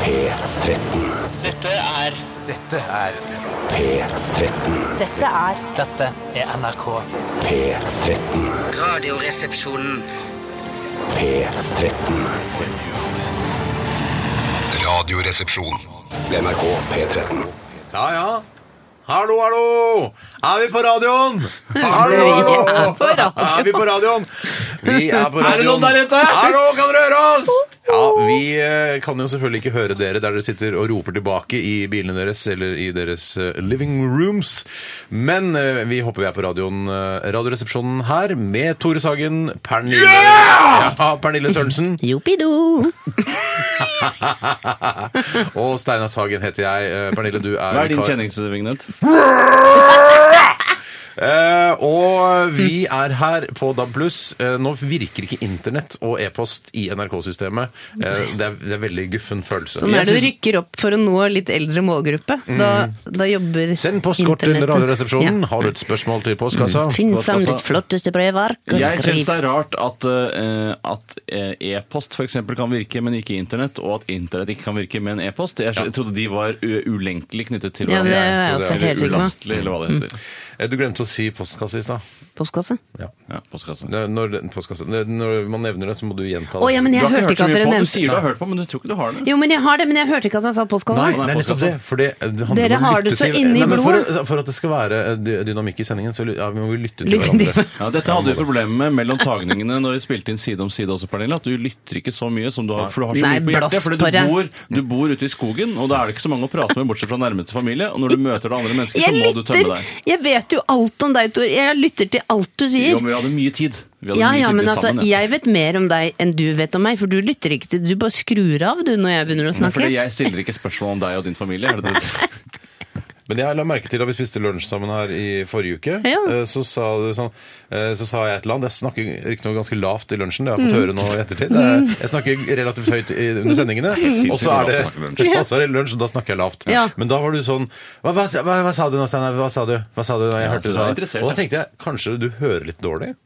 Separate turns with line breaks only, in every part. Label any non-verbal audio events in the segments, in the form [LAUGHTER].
P13.
Dette er
Dette er
P13.
Dette er
Dette er NRK.
P13.
Radioresepsjonen.
P13.
Radioresepsjon.
NRK P13.
Ja, ja. Hallo, hallo! Er vi på radioen? Hallo,
Vi er på radioen.
Er vi på radioen? Vi er på radioen.
Er det noen der ute?
Hallo, kan dere høre oss? Ja, vi eh, kan jo selvfølgelig ikke høre dere der dere sitter og roper tilbake i bilene deres eller i deres eh, living rooms. Men eh, vi håper vi er på radioen, eh, radioresepsjonen her med Tore Sagen, Pernille, ja, Pernille Sørensen
Jopido!
og Steinar Sagen heter jeg. Eh, Pernille, du er
Hva er din
vikar.
kjenningsvignett?
Eh, og vi er her på DAB+. Eh, nå virker ikke internett og e-post i NRK-systemet. Eh, det, er- det er veldig guffen følelse.
Så når du rykker opp for Sånn å nå litt eldre målgruppe,
Mm.
da, da jobber
Send postkort til
internettet.
Radioresepsjonen.
Ja. Mm.
Har du et spørsmål til postkassa?
Finn
Godt,
fram
altså.
ditt flotteste brevverk og
Jeg syns
skriv.
det er rart at, eh, at eh, e-post for eksempel kan virke, men ikke internett, og at internett ikke kan virke med en e-post. Jeg, jeg trodde de var u- ulenkelig knyttet til
Ja, det
hverandre.
er jeg
Så
også
eller
helt sikker på. Mm.
ulastelig, eller hva det heter.
Eh, Du glemte å si postkasse i stad.
Postkasse.
Ja, postkasse.
Det- Når, den- postkasse- det- når man nevner det, så må du gjenta det.
Å, ja, men jeg
Du har
hørte ikke
så
at
mye
dere
på. Du
nevnte
sier du har hørt på, men du tror ikke du har det.
Jo, men jeg har det, men jeg hørte ikke at jeg sa postkasse.
Nei,
Nei,
nei, nettopp
postkasse.
det. For det, det handler
Dere
om å
har det
lytte
så
til-
inne i
Nei, men For,
blodet.
for at det skal være eh, dy- dynamikk i sendingen, så ly- ja, vi må vi lytte til
Lytte til
hverandre.
Ja, dette hadde vi problemer med mellom tagningene når vi spilte inn Side om side også, Pernille. At du lytter ikke så mye som du har, for du har så
Nei,
mye på hjertet.
blås
Fordi du
på det.
bor, du bor ute i skogen, og da er det ikke så mange å prate med bortsett fra nærmeste familie. Og når du møter det andre mennesker, så
Jeg
må du tømme
lytter!
deg.
Jeg vet jo alt om deg, Tor. Jeg lytter til alt du
Jo,
sier.
men vi hadde mye tid. Vi hadde
Ja,
mye
ja,
tid
men
til
altså,
sammen, ja.
jeg vet mer om deg enn du vet om meg, for du lytter ikke til Du bare skrur av, du, når jeg begynner å
Nei, Fordi
snakke.
jeg stiller ikke spørsmål om deg og din familie. Er det det?
[LAUGHS]
Men jeg la merke til da vi spiste lunsj sammen her i forrige uke,
Ja.
eh, så, sa du sånn, eh, så sa jeg et eller annet. Jeg snakker riktignok ganske lavt i lunsjen, det har jeg
Mm.
fått høre nå i ettertid. Det er- Jeg snakker relativt høyt i- under sendingene, og så er det,
lavt å snakke
og så er det lunsj, og da snakker jeg lavt.
Ja.
Men da var du sånn Hva, hva, hva, hva sa du nå, Steinar? Hva sa du? Hva sa du da jeg
Ja,
hørte
så du
du
er
sa det?
interessert,
Og da
ja.
tenkte jeg kanskje du hører litt dårlig?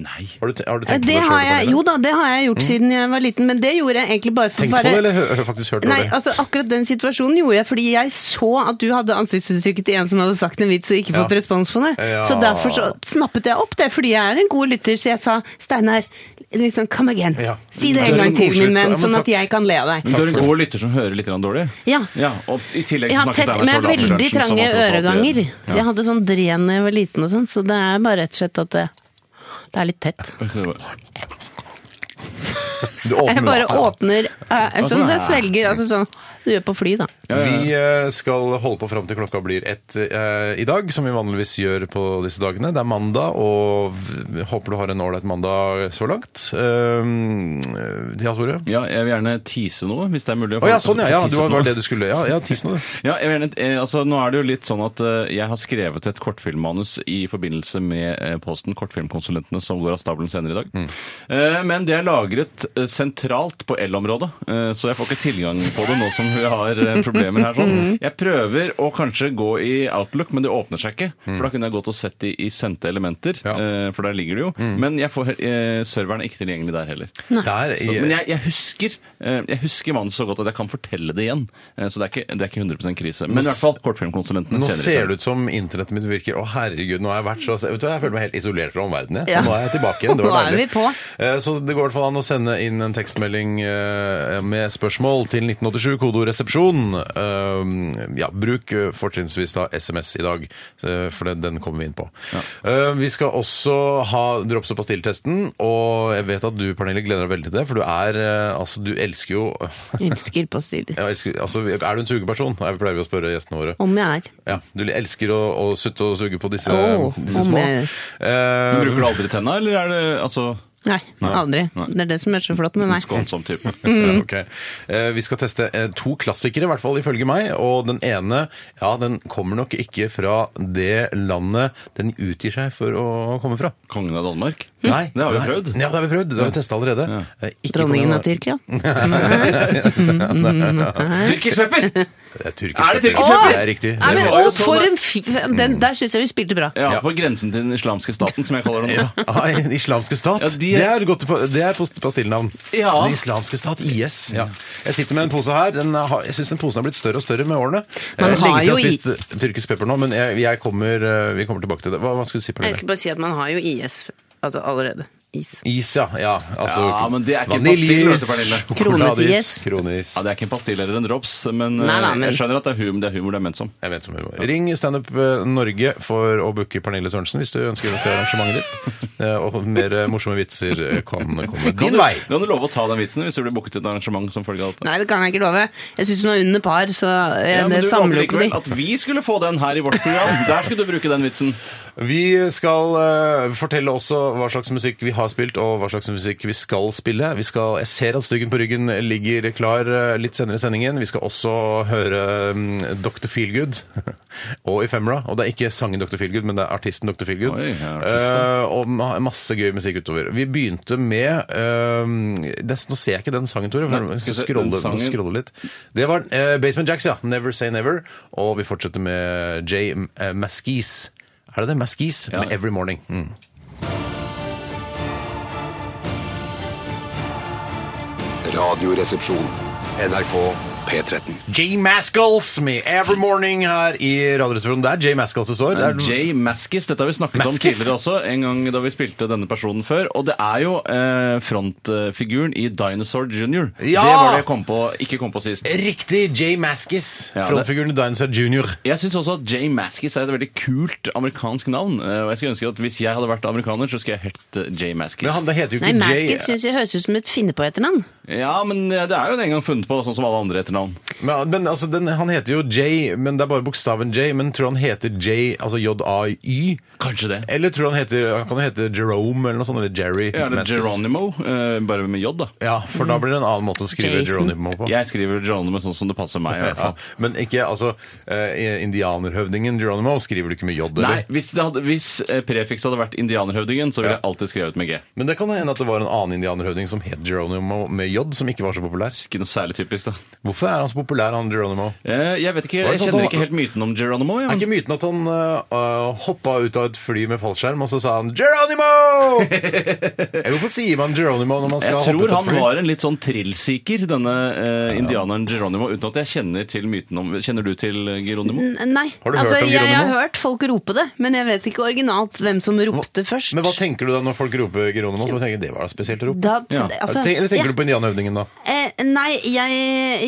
Nei.
Har du, te- har du
Ja,
tenkt på
Det
det
har jeg,
sjøl?
jo da, det har jeg
Mm.
gjort siden jeg var liten, men det gjorde jeg egentlig bare for
Tenkt
å
på
være
det, eller hø- hø- faktisk hørt
Nei,
dårlig?
altså akkurat den situasjonen gjorde jeg fordi jeg så at du hadde ansiktsuttrykket til en som hadde sagt en vits og ikke fått
Ja.
respons på det.
Ja.
Så derfor så snappet jeg opp det, fordi jeg er en god lytter, så jeg sa Steinar, liksom come again.
Ja.
Si det
Det er
en
så
gang til,
koselig.
min
Ja,
venn,
men
sånn
takk.
at jeg kan le av deg.
Men du er en
for-
god lytter som hører litt grann dårlig?
Ja.
ja og i tillegg
Jeg
så
har
snakker
tett,
Steinar
men jeg
så
har
lavt i
veldig
lunsjen, som
trange
han tross alt gjør.
øreganger.
Ja.
Jeg hadde sånn dren da jeg var liten og sånn, så det er bare rett og slett at det, det er litt tett.
Du åpner
Jeg bare
opp.
åpner eh, Som det svelger, altså sånn du gjør på fly, da.
Vi eh, skal holde på fram til klokka blir ett eh, i dag, som vi vanligvis gjør på disse dagene. Det er mandag, og v- håper du har en ålreit mandag så langt. Uh, ja, Tore?
Ja, altså, jeg vil gjerne tease noe, hvis det er mulig.
Å ja, sånn ja! ja du var
Tease noe.
var det du skulle. Ja, ja tis nå, du.
Ja, jeg vil gjerne, eh, altså, nå er det jo litt sånn at eh, jeg har skrevet et kortfilmmanus i forbindelse med eh, posten Kortfilmkonsulentene som går av stabelen senere i dag. Eh, men det er lagret eh, sentralt på L-området, eh, så jeg får ikke tilgang på det nå som vi har eh, problemer her. Sånn. Jeg prøver å kanskje gå i Outlook, men det åpner seg ikke. For da kunne jeg gått og sett det i sendte elementer,
Ja.
eh, for der ligger det jo. Men jeg får, eh, serveren er ikke tilgjengelig der heller.
Der,
Så, Sånn, men jeg, jeg husker eh, Jeg husker mannen så godt at jeg kan fortelle det igjen. Eh, Så det er ikke, det er ikke 100 krise. Men i hvert fall kortfilmkonsulentene
nå
senere.
ser det ut som internettet mitt virker. Å, herregud, nå har jeg vært så Vet du, hva, Jeg føler meg helt isolert fra omverdenen. jeg.
Ja.
Og Nå er jeg tilbake igjen. Det var
Nå er
deilig.
vi på.
Eh, Så det går i hvert fall an å sende inn en tekstmelding eh, med spørsmål til 1987, kodeord resepsjon. Eh, Ja, bruk eh, fortrinnsvis da SMS i dag, eh, for det- den kommer vi inn på. Eh, Vi skal også ha drops- og pastilltesten, og jeg vet at du, Pernille, gleder deg veldig til det, for du er eh, Altså, du elsker jo [LAUGHS]
Elsker på stiler.
jeg elsker, altså, Er du en sugeperson? Jeg pleier vi å spørre gjestene våre.
Om jeg er.
Ja, du elsker å, å sutte og suge på disse,
Åh,
disse
om
små.
jeg-
Eh,
Bruker du aldri tenna, eller er det altså
Nei, aldri.
Nei.
Det er det som er så flott med
en
meg.
skånsom type?
ja, ok. Eh, vi skal teste eh, to klassikere, i hvert fall ifølge meg. Og den ene ja, den kommer nok ikke fra det landet den utgir seg for å komme fra.
Kongen av Danmark?
[LAUGHS] Nei,
Hm. Det har vi
nei.
prøvd.
Ja, det har vi prøvd. Det har vi testa allerede. Eh, ikke
Dronningen
kongen
av Tyrkia.
Nei, nei, nei.
Tyrkisk pepper!
Det er tyrkisk
Er det tyrkisk
pepper?
pepper?
Eh, Det er riktig.
Nei,
men,
Det Mm.
var jo
og for
sånn-
en fi... Den, der syns jeg vi spilte bra.
Ja,
[LAUGHS] Ja.
På grensen til den islamske staten, som jeg kaller den.
var- [LAUGHS] Ah, Den islamske stat?
Ja, de er-
Det er, godt, det er post- pastillenavn.
Ja.
Den islamske stat, IS. Ja. Jeg sitter med en pose her. Den har, jeg syns den posen har blitt større og større med årene.
Man har
Eh, Lenge siden jeg har
jo i-
spist eh, tyrkisk pepper nå, men jeg, jeg kommer, eh, vi kommer tilbake til det. Hva, hva skulle du si på
Jeg
det?
skulle bare si at man har jo IS altså allerede. Is.
Is, ja. ja, altså,
Ja, men det er ikke en
vaniljeis,
pastill, vet du, Pernille.
sjokoladeis,
Krones-is.
Kroneis.
Ja, Det er ikke en pastill eller en drops, men,
Nei, nei,
eh,
men-
jeg skjønner at det er humor det er, humor det er ment som.
Jeg vet som humor. Ring Standup eh, Norge for å booke Pernille Sørensen hvis du ønsker å til arrangementet ditt. Eh, Og mer eh, morsomme vitser eh, kan komme
Kan
din
du,
vei.
kan du love å ta den vitsen hvis du blir booket til et arrangement som følge av dette?
Nei, det kan jeg ikke love. Jeg syns hun var under par, så eh,
Ja, men
det
du
samler jo
valgte
ikke
likevel
meg.
At vi skulle få den her i vårt program. Der skulle du bruke den vitsen.
Vi skal eh, fortelle også hva slags musikk vi har spilt, og hva slags musikk vi skal spille. Vi skal, jeg ser at styggen på ryggen ligger klar eh, litt senere i sendingen. Vi skal også høre mm, Dr. Feelgood [LAUGHS] og Ephemera. Og det er ikke sangen Dr. Feelgood, men det er artisten Dr. Feelgood.
Oi, ja, artisten.
Eh, og ma- masse gøy musikk utover. Vi begynte med øhm, det, Nå ser jeg ikke den sangen, Tore.
Nei,
for jeg
skal
skal
vi se,
Scrolle,
den
nå
sangen-
scrolle litt. Det var eh, Basement Jacks, ja. Never Say Never. Og vi fortsetter med Jay uh, Maskees. Er det det? Maskees
Ja.
med Every Morning. Mm.
Radioresepsjon. NRK P13.
Jay Maskells med Every Morning her i Radioresepsjonen. Det er Jay Maskells det står. Det er,
Jay Maskis. Dette har vi snakket om
Mascis?
tidligere også, en gang da vi spilte denne personen før. Og det er jo eh, frontfiguren i Dinosaur Junior.
Ja!
Det var det jeg kom på, ikke kom på sist.
Riktig! Jay Maskis.
Ja, det-
Frontfiguren i Dinosaur Junior.
Jeg syns også at Jay Maskis er et veldig kult amerikansk navn. eh, Og jeg skulle ønske at hvis jeg hadde vært amerikaner, så skulle jeg hett eh, Jay Maskis.
Men han det heter jo
Nei,
ikke Jay.
Maskis syns jeg høres ut som et finne på etternavn.
Ja, men eh, det er jo en gang funnet på, sånn som alle andre etternavn.
Men, men altså, den, Han heter jo Jay, men det er bare bokstaven J. Men tror han heter J, altså J-A-Y?
Kanskje det.
Eller tror han heter, han kan hete Jerome eller noe sånt, eller Jerry.
Ja, eller
Maskis.
Geronimo, eh, bare med J, da.
Ja, for
Mm.
da blir det en annen måte å skrive
Jason.
Geronimo på.
Jeg skriver Geronimo sånn som det passer
[LAUGHS]
meg. i hvert
Ja,
fall.
men ikke, altså, eh, indianerhøvdingen Geronimo skriver du ikke med J,
Nei,
eller?
Hvis, det hadde, hvis eh, prefikset hadde vært indianerhøvdingen, så ville
Ja.
jeg alltid skrevet med G.
Men det kan hende at det var en annen indianerhøvding som het Geronimo med J, som ikke var så populær.
Ikke noe særlig typisk, da.
Hvorfor er han så populær, han Geronimo?
Eh, Jeg vet ikke,
Var det
jeg
sånn
kjenner
at-
ikke helt myten om Geronimo. Ja.
Er ikke myten at han uh, hoppa ut av et fly med fallskjerm, og så sa
[LAUGHS]
han 'Geronimo!' Eller hvorfor sier man Geronimo når man skal
Jeg
hoppe
tror
ut av
han
et fly?
var en litt sånn trillsiker, denne eh, indianeren Geronimo, uten at jeg kjenner til myten om Kjenner du til eh, Geronimo?
N- Nei.
Har du hørt
altså,
om
jeg, jeg har
Geronimo?
hørt folk rope det, men jeg vet ikke originalt hvem som ropte først.
Men hva tenker du da når folk roper Geronimo? Du tenker, det var da spesielt å rope.
da,
Ja.
altså,
Tenk- Eller tenker
ja.
du på indianerhøvdingen, da?
Eh, nei, jeg,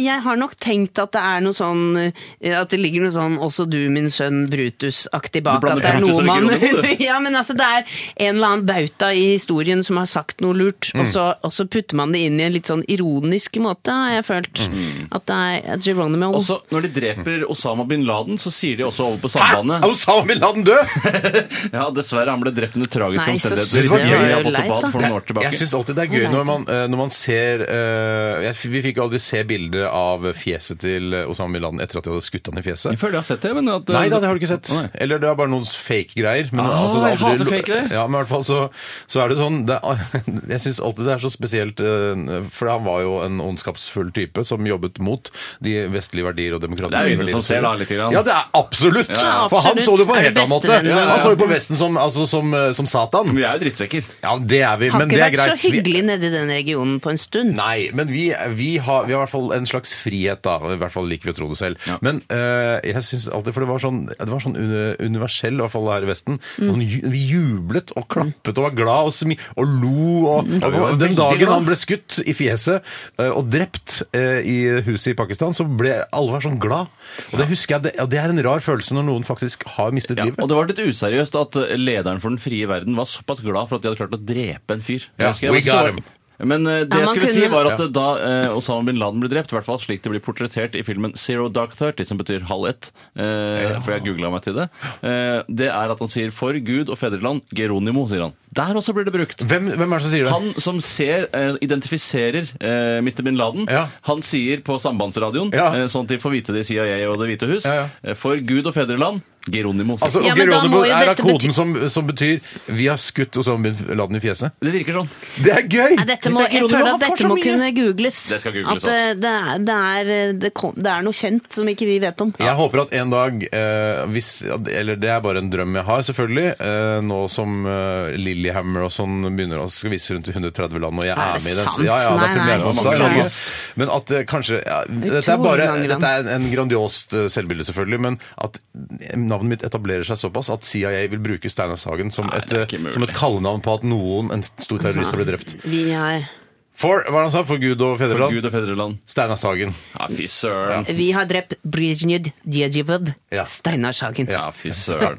jeg har nok tenkt at det er noe sånn eh, At det ligger noe sånn 'også du, min sønn Brutus'-aktig bak.
Du
At
blander
det er
Brutus
noe
og
man
Geronimo,
[LAUGHS] Ja, men altså det er en eller annen bauta i historien som har sagt noe lurt,
Mm.
og, så, og så putter man det inn i en litt sånn ironisk måte, har jeg følt.
Mm.
At det er at Geronimo
Og så Når de dreper Osama bin Laden, så sier de også over på sambandet
Er Osama bin Laden død?!
Ja, dessverre, han ble drept under tragiske
Nei, så
omstendigheter.
synd.
i
Det var
Nigeria
jo
på
leit,
Tobad
da.
for noen år
Jeg
tilbake.
syns alltid det er gøy når man, eh, når man ser eh, jeg, Vi fikk jo aldri se bilde av fjeset til Osama bin Laden etter at de hadde skutt han i fjeset.
Jeg føler jeg har sett det, men at eh,
Nei da, det har du ikke sett.
Nei.
Eller det er bare noen fake-greier. Men
Ah,
altså, det er
jeg
aldri-
hater fake-greier.
Ja, men i hvert fall så, så er det sånn det er, [LAUGHS] Jeg syns alltid det er så spesielt eh, For han var jo en ondskapsfull type som jobbet mot de vestlige verdier og
Det
demokratiske
er øynene
verdier.
som ser da, litt grann.
Ja, det er absolutt!
ja.
For han så det på
Absolutt.
en helt annen måte.
Er det bestevennen,
Han
ja.
så jo på Vesten som, altså, som, eh, som Satan.
Vi er jo drittsekker.
Ja, det er vi,
Har
men
ikke
det er
vært
greit.
så
Vi-
hyggelig nede i den regionen på en stund.
Nei, men vi, vi, har, vi har i hvert fall en slags frihet, da. I hvert fall liker vi å tro det selv. Men eh, jeg synes alltid For det var sånn, det var sånn uni- universell, i hvert fall her i Vesten. Sånn, ju- vi jublet og klappet og var glad og, smi, og lo. Og, og,
var
den
veldig
dagen
glad.
han ble skutt i fjeset eh, og drept eh, i huset i Pakistan, så ble alle var sånn glad. Og det husker jeg, det, ja, det er en rar følelse når noen faktisk har mistet
Ja,
livet.
og det var litt useriøst at eh, lederen for den frie verden var såpass glad for at de hadde klart å drepe en fyr.
Ja,
Jeg husker jeg
we
var så-
got him.
Men eh, det
Ja,
jeg
man
skulle
kunne-
si var at eh, da eh, Osama bin Laden ble drept, i hvert fall slik det blir portrettert i filmen Zero Dark Thirty, som betyr halv ett, eh, for jeg googla meg til det, eh, det er at han sier 'for Gud og fedreland', Geronimo, sier han. Der også blir det brukt.
Hvem, hvem er det som sier det?
Han som ser, eh, identifiserer eh, Mr. bin Laden,
Ja.
han sier på sambandsradioen,
Ja.
eh, sånn at de får vite det i CIA og Det hvite hus,
Ja, ja.
eh, for Gud og fedreland, Geronimo.
Altså,
Ja,
og
men da
Geronimo
må jo
er da
dette
koden som, som betyr 'vi har skutt', og så har vi la den i fjeset.
det virker sånn.
Det er gøy!
Nei, dette må,
Det er
jeg
Geronimo,
føler
han
at
får så
dette må
mye.
kunne googles.
Det skal googles,
at eh, det, er, det, er, det, kom, det er noe kjent som ikke vi vet om.
Jeg håper at en dag, eh, hvis, eller det er bare en drøm jeg har selvfølgelig, eh, nå som eh, Lillehammer og sånn begynner å skal vise rundt i 130 land, og jeg er,
Er det
med i den.
sant?
Ja, ja, det
Nei,
er
nei,
premiereoppstart i
det er
Norge.
sant.
Men at eh, kanskje, ja, dette er bare,
mange land.
dette er en, en grandiost eh, selvbilde selvfølgelig, men at eh, navnet mitt etablerer seg såpass at CIA vil bruke Steinar Sagen som,
Nei,
et,
det er
eh,
ikke mulig.
som et kallenavn på at noen, en stor terrorist, har blitt drept.
Vi er,
For, hva er det han sa? For Gud og
For
Fedreland?
Gud og fedreland.
Steinar Sagen.
Ja, fy søren.
vi har drept Brezjnev Djedzjevad,
Ja.
Steinar Sagen.
Ja, fy søren.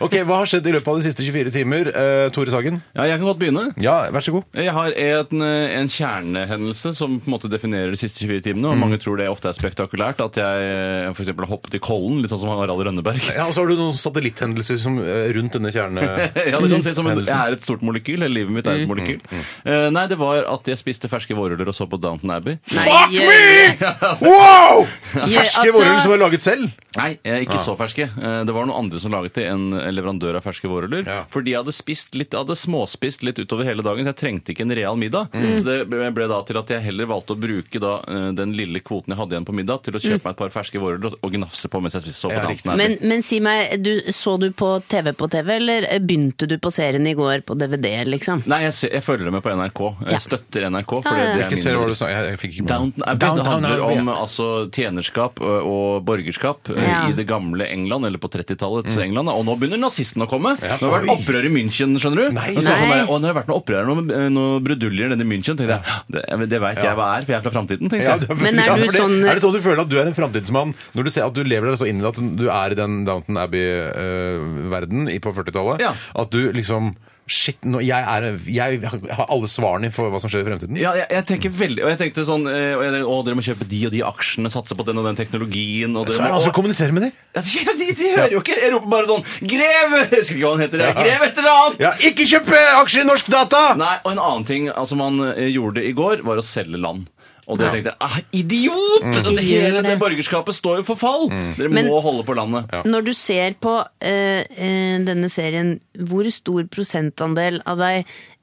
Ok, hva har skjedd i løpet av de siste 24 timer, eh, Tore Sagen?
[LAUGHS] Ja, jeg kan godt begynne.
Ja, vær så god.
Jeg har en, eh, en kjernehendelse som på en måte definerer de siste 24 timene. og Mange tror det ofte er spektakulært at jeg f.eks. har hoppet i Kollen, litt sånn som Harald Rønneberg. [LAUGHS]
Ja, og så har du noen satellitthendelser som, eh, rundt denne kjerne...
Ja, det kan si som en, Jeg er et stort molekyl. Hele livet mitt er et molekyl. Eh, nei, det var at jeg spiste ferske vårruller og så på Downton Abbey.
Fuck me!
Wow!
Ja,
Ferske
eh, altså-
vårruller som er laget selv?
Nei, eh, ikke så ferske. Eh, Det var noen andre som laget det, en en leverandør av ferske vårruller.
Ja.
Fordi jeg hadde, spist litt, jeg hadde småspist litt utover hele dagen, så jeg trengte ikke en real middag.
Mm.
Så det ble ble da til at jeg heller valgte å bruke da, eh, den lille kvoten jeg hadde igjen på middag, til å kjøpe meg et par ferske vårruller og- og gnafse på mens jeg spiste såpe.
Mm. Ja,
på
riktig.
Downton Abbey.
Men, men si meg, du, så du på TV på TV, eller begynte du på serien i går på DVD, liksom?
Nei, jeg, ser, jeg følger med på NRK. Jeg
Ja.
støtter NRK. Fordi
Ja, ja, ja.
det er min
Ikke ser hva du sa. Jeg, jeg fikk ikke med meg.
Downton Abbey. Det handler
Abbey,
om
ja.
altså, tjenerskap ø, og borgerskap ø,
Ja.
i det gamle England, eller på 30-tallets England. da. Og nå begynner nazistene å komme.
Mm. Ja.
Nå har det vært
Oi.
opprør i München, skjønner du.
Nei.
Og, så sa han
Nei.
bare, og nå har det vært noen opprør her, noen, noen bruduljer nede i München. tenkte jeg, Det, det veit jeg hva er, for jeg er fra framtiden, tenkte
Ja,
jeg.
det er,
Men er
ja,
du
for det-
sånn-
er det sånn du føler at du er en framtidsmann når du ser at du lever deg så inn i det at du er i den Downton Abbey-verden på 40-tallet?
Ja.
At du liksom Shit, nå, jeg, er, jeg har alle svarene for hva som skjer i fremtiden.
Ja, jeg, jeg tenker veldig, og jeg tenkte sånn eh, og jeg, tenkte, Å, dere må kjøpe de og de aksjene, satse på den og den teknologien og
Så
dere
er
må-
det altså vanskelig å kommunisere med dem!
Ja, de, de, de hører jo ikke! Jeg roper bare sånn Grev! Jeg husker ikke hva han heter. jeg. Grev et eller annet!
Ja, ikke kjøpe aksjer i Norsk Data!
Nei, og en annen ting altså, man eh, gjorde i går, var å selge land. Og det tenkte jeg, ah, idiot! Det hele det borgerskapet står jo for fall! Dere må
Men-
holde på landet.
Når du ser på eh, eh, denne serien, hvor stor prosentandel av deg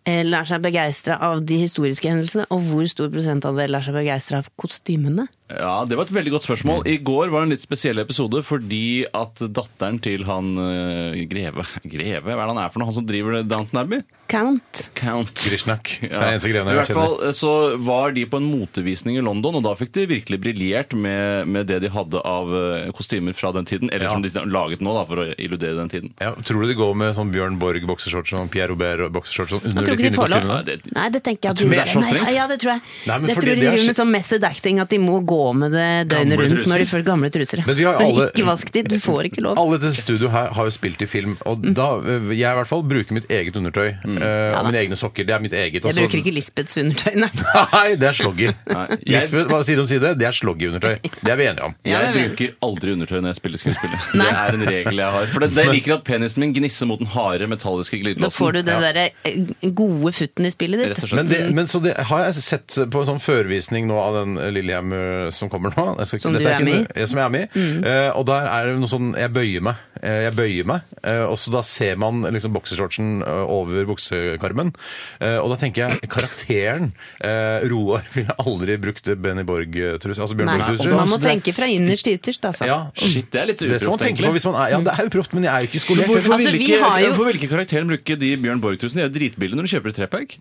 eh, lar seg begeistre av de historiske hendelsene, og hvor stor prosentandel lar seg begeistre av kostymene?
Ja, Det var et veldig godt spørsmål. I går var det en litt spesiell episode fordi at datteren til han eh, Greve Greve, hva er det han er for noe? Han som driver Downton Abbey?
Count.
Count.
Grishnak. Det
Ja.
er eneste greia
I
jeg
hvert
kjenner.
fall eh, så var de på en motevisning i London, og da fikk de virkelig briljert med, med det de hadde av eh, kostymer fra den tiden. Eller
Ja.
som de har laget nå, da, for å illudere den tiden.
Ja, tror du de går med sånn Bjørn Borg-boksershorts og Pierre Robert-boksershorts sånn under
tror
de
ikke de
fine
får lov.
kostymene?
Nei, det-
Nei, det tenker jeg at
Jeg tror det er så
nei,
strengt.
Ja, det tror jeg.
Nei, men
jeg tror de
fordi det er
driver med
skitt-
sånn method acting, at de må gå med det
Gamle
døgnet rundt
truser.
når de får gamle truser.
Men vi har alle-
ikke vask de, du får ikke lov.
Alle i dette studio her har jo spilt i film, og
Mm.
da eh, jeg i hvert fall bruker mitt eget undertøy. eh, og mine egne sokker. Det er mitt eget.
Jeg
og så-
bruker ikke Lisbeths undertøy, nei.
[LAUGHS] Nei, det er slogger.
Nei, jeg-
Lisbeth, hva side om side, det er sloggy-undertøy. Det er vi enige om.
Ja,
Jeg
men-
bruker aldri undertøy når jeg spiller skuespill. det
[LAUGHS] Nei.
er en regel jeg har. For det, jeg liker at penisen min gnisser mot den harde, metalliske glidelåsen.
Da får du det derre eh, gode futten i spillet
Rett
ditt.
og slett.
Men, det, men så det har jeg sett på en sånn førvisning nå av den Lillehammer som kommer nå. Jeg skal ikke-
Som du er
dette ikke
med i? Mm.
noe- Ja, Som jeg er med i. Eh, og der er det noe sånn Jeg bøyer meg. Eh, jeg bøyer meg, eh, og så da ser man liksom boksershortsen eh, over buksekarmen. Eh, og da tenker jeg karakteren eh, Roar ville aldri brukt Benny Borg-trus. Altså Bjørn
Nei,
Borg-trus.
man må tenke fra innerst til ytterst, altså.
Ja,
Shit, det er litt
det er sånn man
uproft,
tenker på
egentlig.
hvis man er Ja, det er uproft, men jeg er jo ikke skolert.
Hvorfor,
Altså,
vil
vi
ikke,
har jo-
hvorfor vil ikke karakteren bruke de Bjørn Borg-trusene? De er dritbillige når du kjøper i trepack.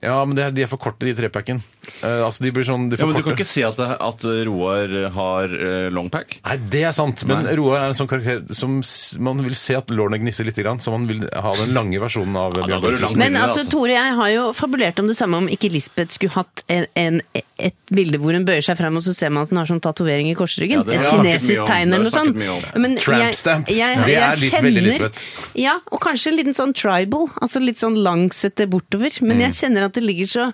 Ja, men det er, de er for korte, de trepacken. Eh, altså, de blir sånn de er
Ja,
for
men du kan
korte.
ikke se at, det- at eh, Roar har eh, longpack.
Nei, det er sant, men Roar er en sånn karakter som s- man vil se at lårene gnisser litt, grann, så man vil ha den lange versjonen av
da går du
Bjørn Borg.
langt.
Men-
Men
Bilder,
altså,
altså.
Tore, jeg har jo fabulert om det samme om ikke Lisbeth skulle hatt en, en, et bilde hvor hun bøyer seg frem, og så ser man at hun har sånn tatovering i korsryggen.
Ja, det har
et
jeg snakket mye
kinesisk
om. Det
tegn
har
eller
jeg
noe sånt.
snakket mye
Men
Tramp
jeg-
stamp.
jeg-
Ja. Det
jeg
er litt
kjenner-
veldig Lisbeth.
Ja, og kanskje en liten sånn tribal, altså litt sånn langsete bortover. Men jeg
Mm.
kjenner at det ligger så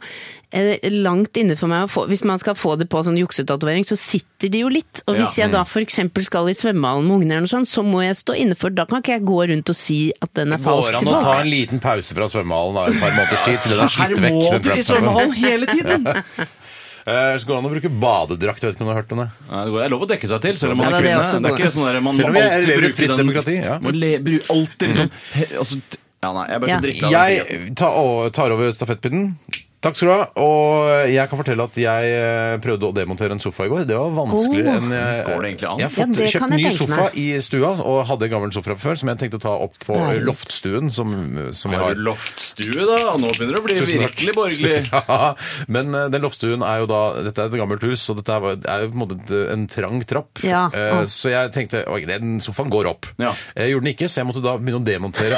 eh, langt inne for meg å få Hvis man skal få det på sånn juksetatovering, så sitter de jo litt. Og hvis
Ja. Mm.
jeg da f.eks. skal i svømmehallen med ungene eller noe sånt, så må jeg stå innenfor. Da kan ikke jeg gå rundt og si at den er falsk
Går
til
an å
folk.
ta en liten
[LAUGHS]
pause fra svømmehallen da, et par måneders tid til den er slitt vekk? den
i
Tramp Stampen.
[LAUGHS] svømmehallen hele tiden!
Eh, så går det an å bruke badedrakt. Jeg vet ikke om du har hørt om det?
Nei, det går- det er lov å dekke seg til, selv om man
Ja,
er
det er
kvinne.
også
Det er ikke
godt.
sånn der, man
Selv om
må
jeg
alltid
lever i et
bruke
fritt
den-
demokrati, ja.
Man le, bru, alltid liksom he, altså, t- Ja, nei, jeg ble så
Ja.
drita av det.
Jeg tar, å, tar over stafettpinnen. Takk skal du ha. Og jeg kan fortelle at jeg eh, prøvde å demontere en sofa i går. Det var vanskeligere
Oh.
enn jeg
Går det egentlig an?
Jeg har
Ja,
fått
det kan
kjøpt
jeg
ny
tenke
sofa
meg.
i stua, og hadde en gammel sofa fra før som jeg tenkte å ta opp på eh, loftstuen som, som vi
Har
har.
du loftstue, da? Nå begynner det å bli
Tusen takk.
virkelig borgerlig.
[LAUGHS] Ja, men eh, den loftstuen er jo da Dette er et gammelt hus, og dette er, jo- er jo på en måte et- en trang trapp.
Ja.
Eh,
Ah.
Så jeg tenkte ok, den sofaen går opp.
Ja.
Jeg gjorde den ikke, så jeg måtte da begynne å demontere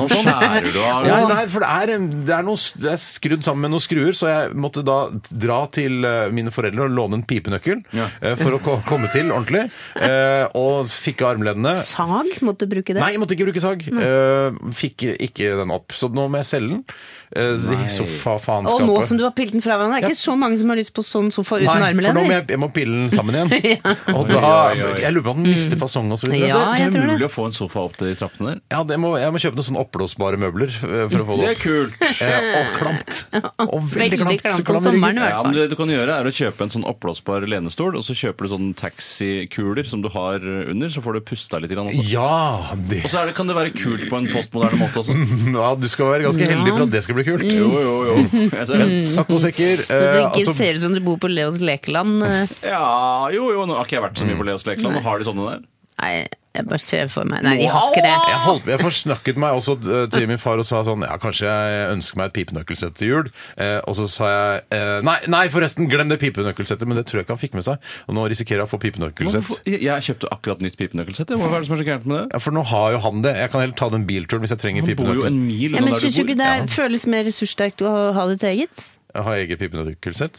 [LAUGHS]
og sånn.
Skjærer du av?
Ja, nei, for det er, det, er noe, det er skrudd sammen med noen skruer, så jeg måtte da dra til eh, mine foreldre og låne en pipenøkkel
Ja.
eh, for å ko- komme til ordentlig. eh, Og fikk
[LAUGHS]
av armlenene.
Sag måtte du bruke det. Mm.
Nei, jeg måtte ikke bruke sag. Eh, fikk ikke den opp. Så nå må jeg selge den. Uh,
og
Sofafaenskapet.
nå som du har pilt den fra hverandre, er det ikke så mange som har lyst på sånn sofa uten
Nei, for nå må
armlener.
jeg, jeg må pille den
[LAUGHS]
sammen igjen. Og da,
Oi, oi, oi.
Jeg lurer på om den mister fasong og så
Mm.
videre.
Ja,
altså, det
jeg
er
tror
mulig
det.
å få en sofa opp til de trappene der.
Ja, det må, jeg må kjøpe noen sånne oppblåsbare møbler eh, for å få det
Det er
opp.
kult.
Eh, og klamt. Og veldig,
Veldig
klamt.
klamt om
så klam i ryggen.
sommeren, i hvert
Ja, men det du kan gjøre er å kjøpe en sånn oppblåsbar lenestol, og så kjøper du sånne taxikuler som du har under, så får du pusta litt. Grann også.
Ja, det.
Og så er det, kan det være kult på en postmoderne måte også.
ja, du skal være ganske heldig for at det skal bli kult.
[LAUGHS]
Mm.
Jo, jo, jo. Jeg ser det.
Saccosekker.
Når
eh,
det ikke
altså-
ser ut som du bor på Leos
[LAUGHS]
lekeland. eh,
Ja, jo, jo. Nå har ikke jeg vært så mye på Leos Lekeland. og Har de sånne der?
Nei, jeg bare ser for meg Nei, de har ikke det.
Jeg, holdt, jeg forsnakket meg også eh, til min far og sa sånn Ja, kanskje jeg ønsker meg et pipenøkkelset til jul. Eh, og så sa jeg eh, nei, nei, forresten, glem det pipenøkkelsettet. Men det tror jeg ikke han fikk med seg. Og nå risikerer jeg å få pipenøkkelsett.
Hvorfor- Jeg- Jeg kjøpte akkurat nytt pipenøkkelsett. jeg. Hva er det som er så gærent med det?
Ja, for nå har jo han det. Jeg kan heller ta den bilturen hvis jeg trenger
Man bor jo
pipenøkkel.
en mil
Ja,
unna
men
der du
Syns du ikke
bor.
det er- føles mer ressurssterkt å ha ditt eget?
Jeg har eget pipenøkkelsett.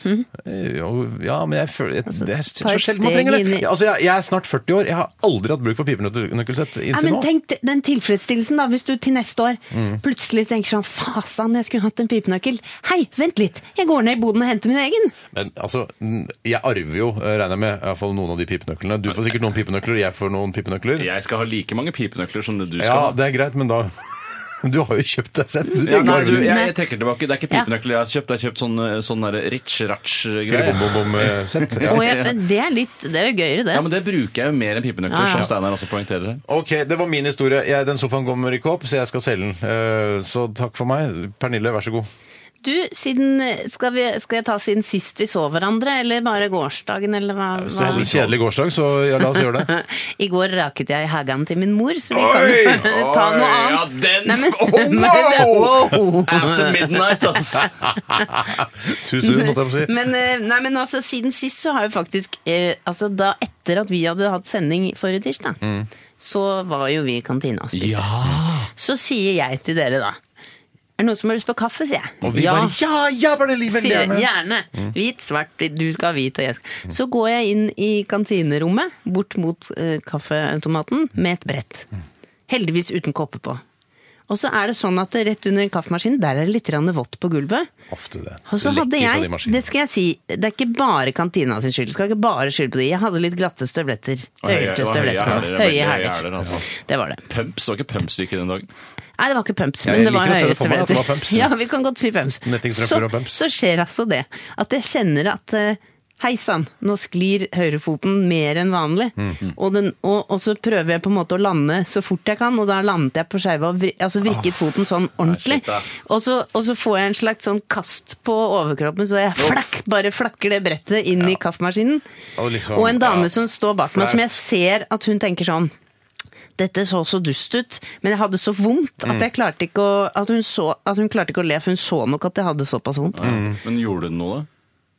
Eh, jo, Ja, men jeg føler jeg, det er
Mhm. Altså, ta
så
et
sjelden man
steg
trenger det.
inn i-
Ja, Altså, jeg, jeg er snart 40 år. Jeg har aldri hatt bruk for pipenøkkelsett
Nei,
inntil
men
nå. Mm.
tenk de- den tilfredsstillelsen da, hvis du til neste år plutselig tenker sånn Fasan, jeg skulle hatt en pipenøkkel. Hei, vent litt, jeg går ned i boden og henter min egen.
Men altså, n- jeg arver jo, eh, regner jeg med, i hvert fall noen av de pipenøklene. Du får sikkert noen pipenøkler, jeg får noen pipenøkler.
Jeg skal ha like mange pipenøkler som det du skal
Ja,
ha.
det er greit, men da [LAUGHS] Du har jo kjøpt deg sett. Du
Ja,
trenger
nei,
bare
du, jeg,
Nei.
jeg trekker tilbake. Det er ikke
Ja.
pipenøkler jeg har kjøpt. Jeg har kjøpt sånn, sånn der rich-ratch-greie.
Fyllebom-bom-bom-sett. eh, Ja.
Og jeg, men det er litt Det er jo gøyere, det.
Ja, men det bruker jeg jo mer enn pipenøkler,
Ah, Ja,
som
ja.
Steinar også poengterer. her.
Ok, det var min historie. Jeg, den sofaen kommer ikke opp, så jeg skal selge den. Eh, Så takk for meg. Pernille, vær så god.
Du, siden, skal, vi, skal jeg ta siden sist vi så hverandre, eller bare gårsdagen, eller hva?
Hvis du
hva?
hadde en kjedelig gårsdag, så ja, la oss
[LAUGHS]
gjøre det.
I går raket jeg hagen til min mor, så vi
Oi!
kan [LAUGHS] ta
Oi,
noe
ja,
annet.
den-
men- [LAUGHS]
Oh,
Wow!
After midnight,
[LAUGHS]
ass!
Too soon, måtte jeg få si.
Men, eh, nei, men altså, siden sist så har jo faktisk eh, altså, da Etter at vi hadde hatt sending forrige tirsdag,
Mm.
så var jo vi i kantina og spiste. Så sier jeg til dere, da. Er det noen som har lyst på kaffe, sier jeg.
Og vi bare Ja, ja, Pernille! veldig
Sier jeg,
gjerne.
Gjerne.
Mm.
Hvit, svart, hvit, du skal ha hvit og jeg skal Så går jeg inn i kantinerommet, bort mot eh, kaffeautomaten, med et brett.
Mm.
Heldigvis uten kopper på. Og så er det sånn at det rett under kaffemaskinen, der er det litt grann vått på gulvet.
Ofte det.
Og så hadde
Lekker fra de
jeg,
maskinene.
det skal jeg si, det er ikke bare kantina sin skyld. Skal ikke bare skylde på de. Jeg hadde litt glatte støvletter.
Og høye-
Høyere
og høye hæler,
støvletter.
ja,
Høye
veldig høye hæler,
hæler.
altså.
Det var det.
Pumps var ikke pumpstykke den dagen.
Nei, det var ikke pumps,
Jeg
men det var
liker å se
høye
det for meg at det var
støvletter.
pumps.
[LAUGHS] Ja, vi kan godt si pumps.
Nettingstrømper
Så,
og pumps.
så skjer altså det at jeg kjenner at eh, Hei sann, nå sklir høyrefoten mer enn vanlig.
Mhm.
og, den, og, og så prøver jeg på en måte å lande så fort jeg kan, og da landet jeg på skeiva og vri, altså vrikket foten sånn ordentlig.
shit, da.
Og så, og så får jeg en slags sånn kast på overkroppen, så jeg flakk, bare flakker det brettet inn i kaffemaskinen.
Og liksom,
og en dame
ja.
som står bak meg, som
Flaut.
jeg ser at hun tenker sånn dette så så dust ut, men jeg hadde så vondt at, jeg klarte ikke å, at, hun så, at hun klarte ikke å le, for hun så nok at jeg hadde såpass vondt.
Mm.
Men gjorde den noe, da?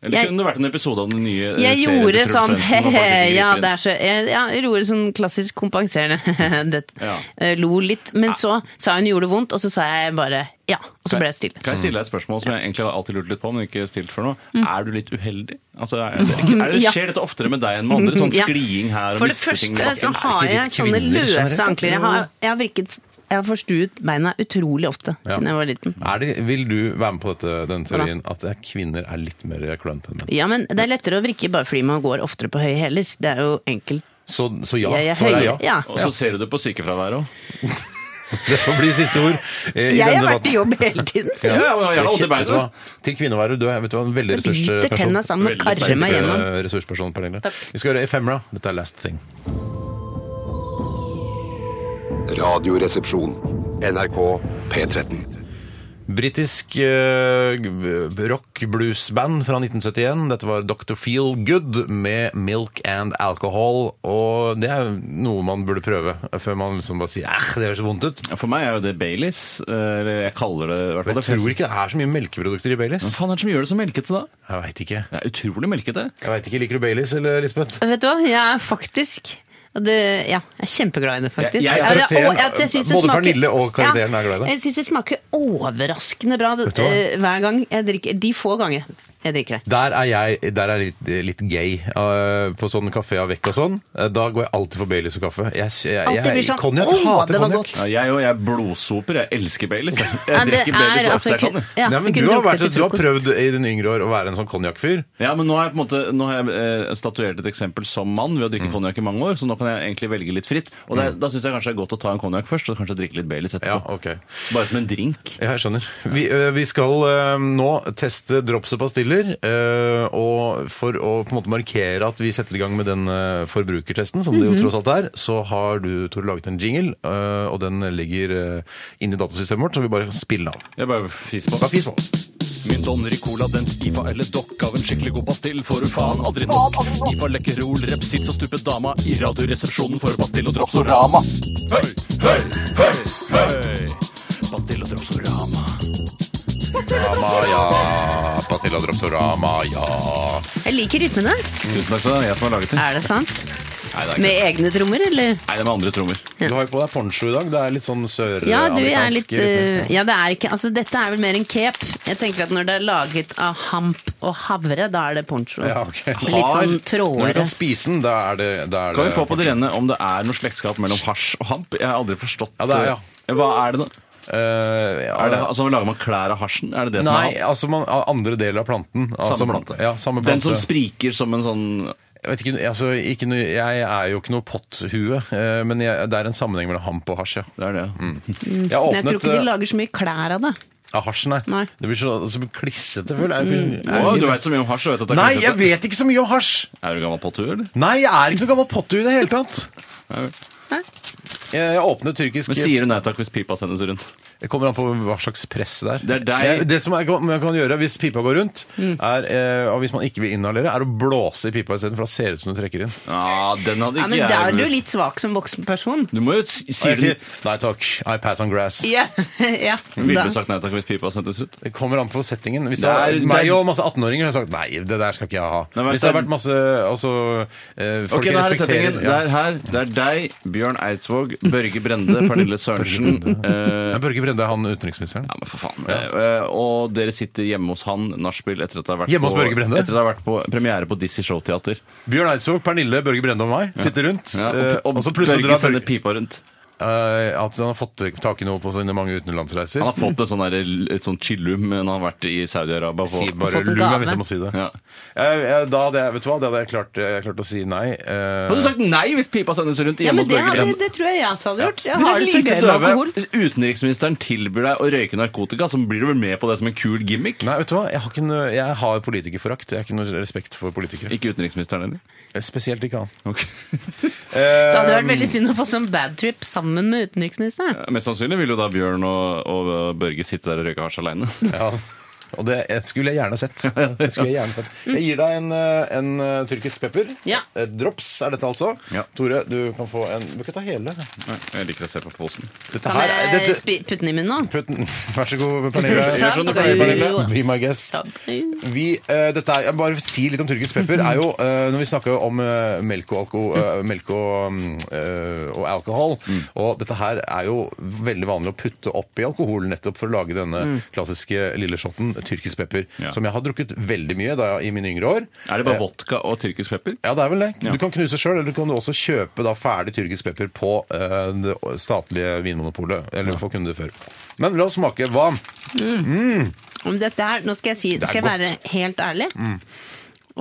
Eller
Jeg-
kunne det vært en episode av den nye eh, serien
Jeg
til
gjorde
Truls
sånn
Svendsen, og folk ikke
[LAUGHS] ja,
griper inn?
det er så, jeg, ja, jeg gjorde sånn klassisk kompenserende. [LAUGHS] det,
Ja.
eh, Lo litt, men så sa hun gjorde det vondt, og så sa jeg bare ja, og så ble jeg stille.
Kan jeg stille deg et spørsmål som jeg egentlig har alltid lurt litt på, men ikke stilt før nå? Er du litt uheldig? Altså, er det, er det,
Mm. Ja.
skjer dette oftere med deg enn med andre? Sånn
Mm, [LAUGHS] Ja.
skliing her og
For det
miste ting
første så har
Er ikke
jeg
litt
sånne
kvinner
løse
generelt?
ankler. Jeg har, jeg har virket jeg har forstuet beina utrolig ofte siden jeg var liten.
Er det, vil du være med på dette, den teorien at eh, kvinner er litt mer klønete enn menn?
Ja, men det er lettere å vrikke bare fordi man går oftere på høye hæler. Det er jo enkelt.
Så, så ja.
Jeg er
Svaret er
høy.
ja.
Ja.
Og så ser du det på sykefraværet òg.
[LAUGHS] Det får bli siste ord eh, i
Jeg
denne
har vært i
debatten.
jobb hele tiden.
Ja,
Så.
ja, men jeg har
Shit,
alltid
vet
beina.
du hva? Til kvinneværet, du er vet du hva, en veldig
Jeg biter
ressursperson.
tenna sammen og
Veldig
karrer meg
sterk,
gjennom.
Eh, ressursperson, Pernille. Vi skal høre Ephemera. Dette er Last Thing.
Radioresepsjon. NRK P13.
Britisk eh, g- rock blues-band fra 1971. Dette var Dr. Feel Good med Milk and Alcohol. Og det er noe man burde prøve før man liksom bare sier æh, det høres så vondt ut.
Ja, For meg er jo det Baileys. eh, Eller jeg kaller det i hvert
Jeg
fall det.
tror ikke det er så mye melkeprodukter i
Hva
Baileys.
faen er det som gjør det så melkete, da?
Jeg veit ikke.
Det er utrolig melkete.
Jeg vet ikke, Liker du Baileys, eller Lisbeth?
Vet du hva, jeg er faktisk og det, ja, jeg er kjempeglad i det, faktisk.
Jeg- jeg-
Ja, det-
karakteren-
og jeg- jeg synes det
både
smaker-
Pernille og karakteren er glad i det.
Jeg syns det smaker overraskende bra det,
Vet du hva?
eh, hver gang jeg drikker De få ganger jeg drikker det.
Der er jeg der er jeg litt, litt gay eh, på sånn kafé av vekk og sånn. Eh, Da går jeg alltid for Baileys og kaffe. Jeg, jeg, jeg,
Alltid blir sånn,
konjakk,
«Åh,
hater
det var
konjakk.
godt».
Ja, jeg òg. Jeg er blodsoper. Jeg elsker Baileys. Jeg
Ja, det
drikker Baileys
er
så
altså
ofte jeg kan.
kun-
jeg.
ja,
Nei,
jeg
men du,
kunne
har
drukket
vært,
det
du
til
har
frokost.
prøvd i dine yngre år å være en sånn konjakkfyr.
Ja, men nå har jeg på en måte Nå har jeg eh, statuert et eksempel som mann ved å drikke konjakk i mange år, så nå kan jeg egentlig velge litt fritt. Og det, er- da syns jeg kanskje det er godt å ta en konjakk først, og kanskje drikke litt Baileys
Ja,
etterpå.
ok.
Bare som en drink.
Ja, jeg skjønner. Vi, ø, vi skal ø, nå teste drops og pastiller. ø, og for å på en måte markere at vi setter i gang med den ø, forbrukertesten, som det jo tross alt er, så har du, Tore, laget en jingle. ø, og den ligger ø, inne i datasystemet vårt, så vi bare kan spille av.
Jeg bare fiser
Bare
på.
fis på.
Min donner i cola, den skifa eller dokk av en skikkelig god pastill får du faen aldri nok. Skifa lekkerol, repsits og stupet dama i radioresepsjonen for pastill og dropsorama. Høy, høy, høy, høy. Pastill og dropsorama.
Rama, ja. Pastilla drops og rama, ja.
Jeg liker rytmene.
Tusen takk skal du ha. Jeg som har laget den.
Er det sant?
Nei, det er ikke.
Med egne trommer, eller?
Nei, det er med andre trommer.
Du har jo på deg poncho i dag. Det er litt sånn
Ja, du, jeg er
søramerikansk
litt eh, Ja, det er ikke Altså, dette er vel mer en cape. Jeg tenker at når det er laget av hamp og havre, da er det poncho.
Ja, ok.
Litt sånn
Når du
trådere.
kan spise den, da er det, da er
Kan vi
det
få på det
poncho.
rene om det er noe slektskap mellom hasj og hamp? Jeg har aldri forstått
Ja, det er, ja.
Hva er det, da?
Eh, ja,
Er det, altså, Lager man klær av hasjen? Er det det
Nei,
som er hamp?
altså man, andre deler av planten. Altså,
Samme plante.
Ja, samme
Den
plante.
som spriker som en sånn
jeg, vet ikke, altså, ikke, noe- jeg er jo ikke noe potthue, eh, men jeg, det er en sammenheng mellom hamp og hasj. Ja.
Det er det.
Mm.
Mm.
Jeg har
Men jeg tror
åpnet
ikke de
eh,
lager så mye klær av det.
av hasj, nei.
Nei.
Det blir så, så klissete, føler jeg. Er-
Mm. Å,
er-
du veit så mye om hasj. Jeg vet at det er
Nei,
klissete.
jeg vet ikke så mye om hasj!
Er du gammel pottu, eller?
Nei, jeg er ikke noe gammel potthue i det hele tatt.
Nei.
Jeg, jeg åpnet tyrkisk
Men sier du nei takk hvis pipa sendes rundt?
Det kommer an på hva slags press det er.
Det er deg. Mm.
Det, det som jeg kan, man kan gjøre hvis pipa går rundt, er, eh, og hvis man ikke vil inhalere, er å blåse i pipa isteden, for da ser det ut som du trekker inn.
Ja, den hadde ikke
Ja, men da er du
jeg
litt svak som voksen person.
Du må jo si
Og jeg
sier
sier
du-
nei takk, I pass on grass.
[LAUGHS] Ja, ja.
Ville
Da.
du sagt nei takk hvis pipa sendes ut?
Det kommer an på settingen. Hvis det
Det er-
er, meg
det er-
og masse 18-åringer har sagt nei, det der skal ikke jeg ha.
Nei, men
Hvis
det
det har
er-
vært masse altså, eh, folk
Ok, det her er
respekterer
settingen. Det
ja.
er her. Det er deg, Bjørn Eidsvåg, Børge Brende,
[LAUGHS]
Pernille Sørensen. eh,
Ja, Børge Brende, han utenriksministeren.
Ja, men for faen. Eh, Og dere sitter hjemme hos han, nachspiel, etter at det har vært
Hjemme hos
på,
Børge Brende?
Etter at det har vært på premiere på Dizzie Showteater.
Bjørn Eidsvåg, Pernille, Børge Brende og meg sitter rundt.
Ja,
eh,
og, og
og så plutselig
Børge
drar
sender
Børge
pipa rundt.
Eh, At han har fått tak i noe på sine mange utenlandsreiser.
Han har fått et sånn der, et sånn chillum når han har vært i Saudi-Arabia. på-
Si bare
fått en
lur meg
gave.
hvis jeg må si det.
Ja.
Eh, eh, Da hadde jeg, vet du hva, da hadde jeg klart, jeg klart å si nei. eh,
Hadde du sagt nei hvis pipa sendes rundt
Ja,
hjemme
men
hos
det,
Børge
hadde,
Brende?
det tror jeg jeg også hadde gjort. Jeg
Dere
har det så
lite
gøy med
døve.
alkohol.
Hvis Utenriksministeren tilbyr deg å røyke narkotika, så blir du vel med på det som en kul gimmick?
Nei, vet du hva, jeg har, ikke noe, jeg har politikerforakt. Jeg har ikke noe respekt for politikere.
Ikke utenriksministeren heller?
Spesielt ikke han.
Ok.
Det hadde vært
Um,
veldig synd å få sånn bad trip sammen med utenriksministeren.
Mest sannsynlig vil jo da Bjørn og, og Børge sitte der og røyke hasj aleine.
Ja. Og det eh, skulle jeg gjerne [LAUGHS] sett. Det skulle jeg gjerne sett. Jeg gir deg en, eh, en eh, tyrkisk pepper.
Ja.
Eh, Drops er dette altså.
Ja.
Tore, du kan få en Du kan ta hele.
Jeg liker å se på posen.
Dette
Kan
her er-
jeg
dette,
spi- putte den i munnen nå?
Putt den- Vær så god, Pernille.
Sa-
Gjør som du pleier, Pernille. Be my guest.
Sa-
Vi, eh, dette er, jeg bare vil si litt om tyrkisk pepper. er jo, eh, Når vi snakker om eh, melk, og, alko, eh, melk og, mm, eh, og alkohol
Mm.
Og dette her er jo veldig vanlig å putte oppi alkohol nettopp for å lage denne klassiske lille shotten tyrkisk pepper.
Mm. Ja.
Som jeg har drukket veldig mye da, jeg- i mine yngre år. Eh,
Er det bare
Eh.
vodka og tyrkisk pepper?
Ja, det er vel det.
Ja.
Du kan knuse sjøl, eller du kan også kjøpe da ferdig tyrkisk pepper på eh, det statlige vinmonopolet. Eller få kunne det før. Men la oss smake. Hva?
Om dette her, nå skal jeg, si,
er
skal jeg
godt. Mm.
være helt ærlig.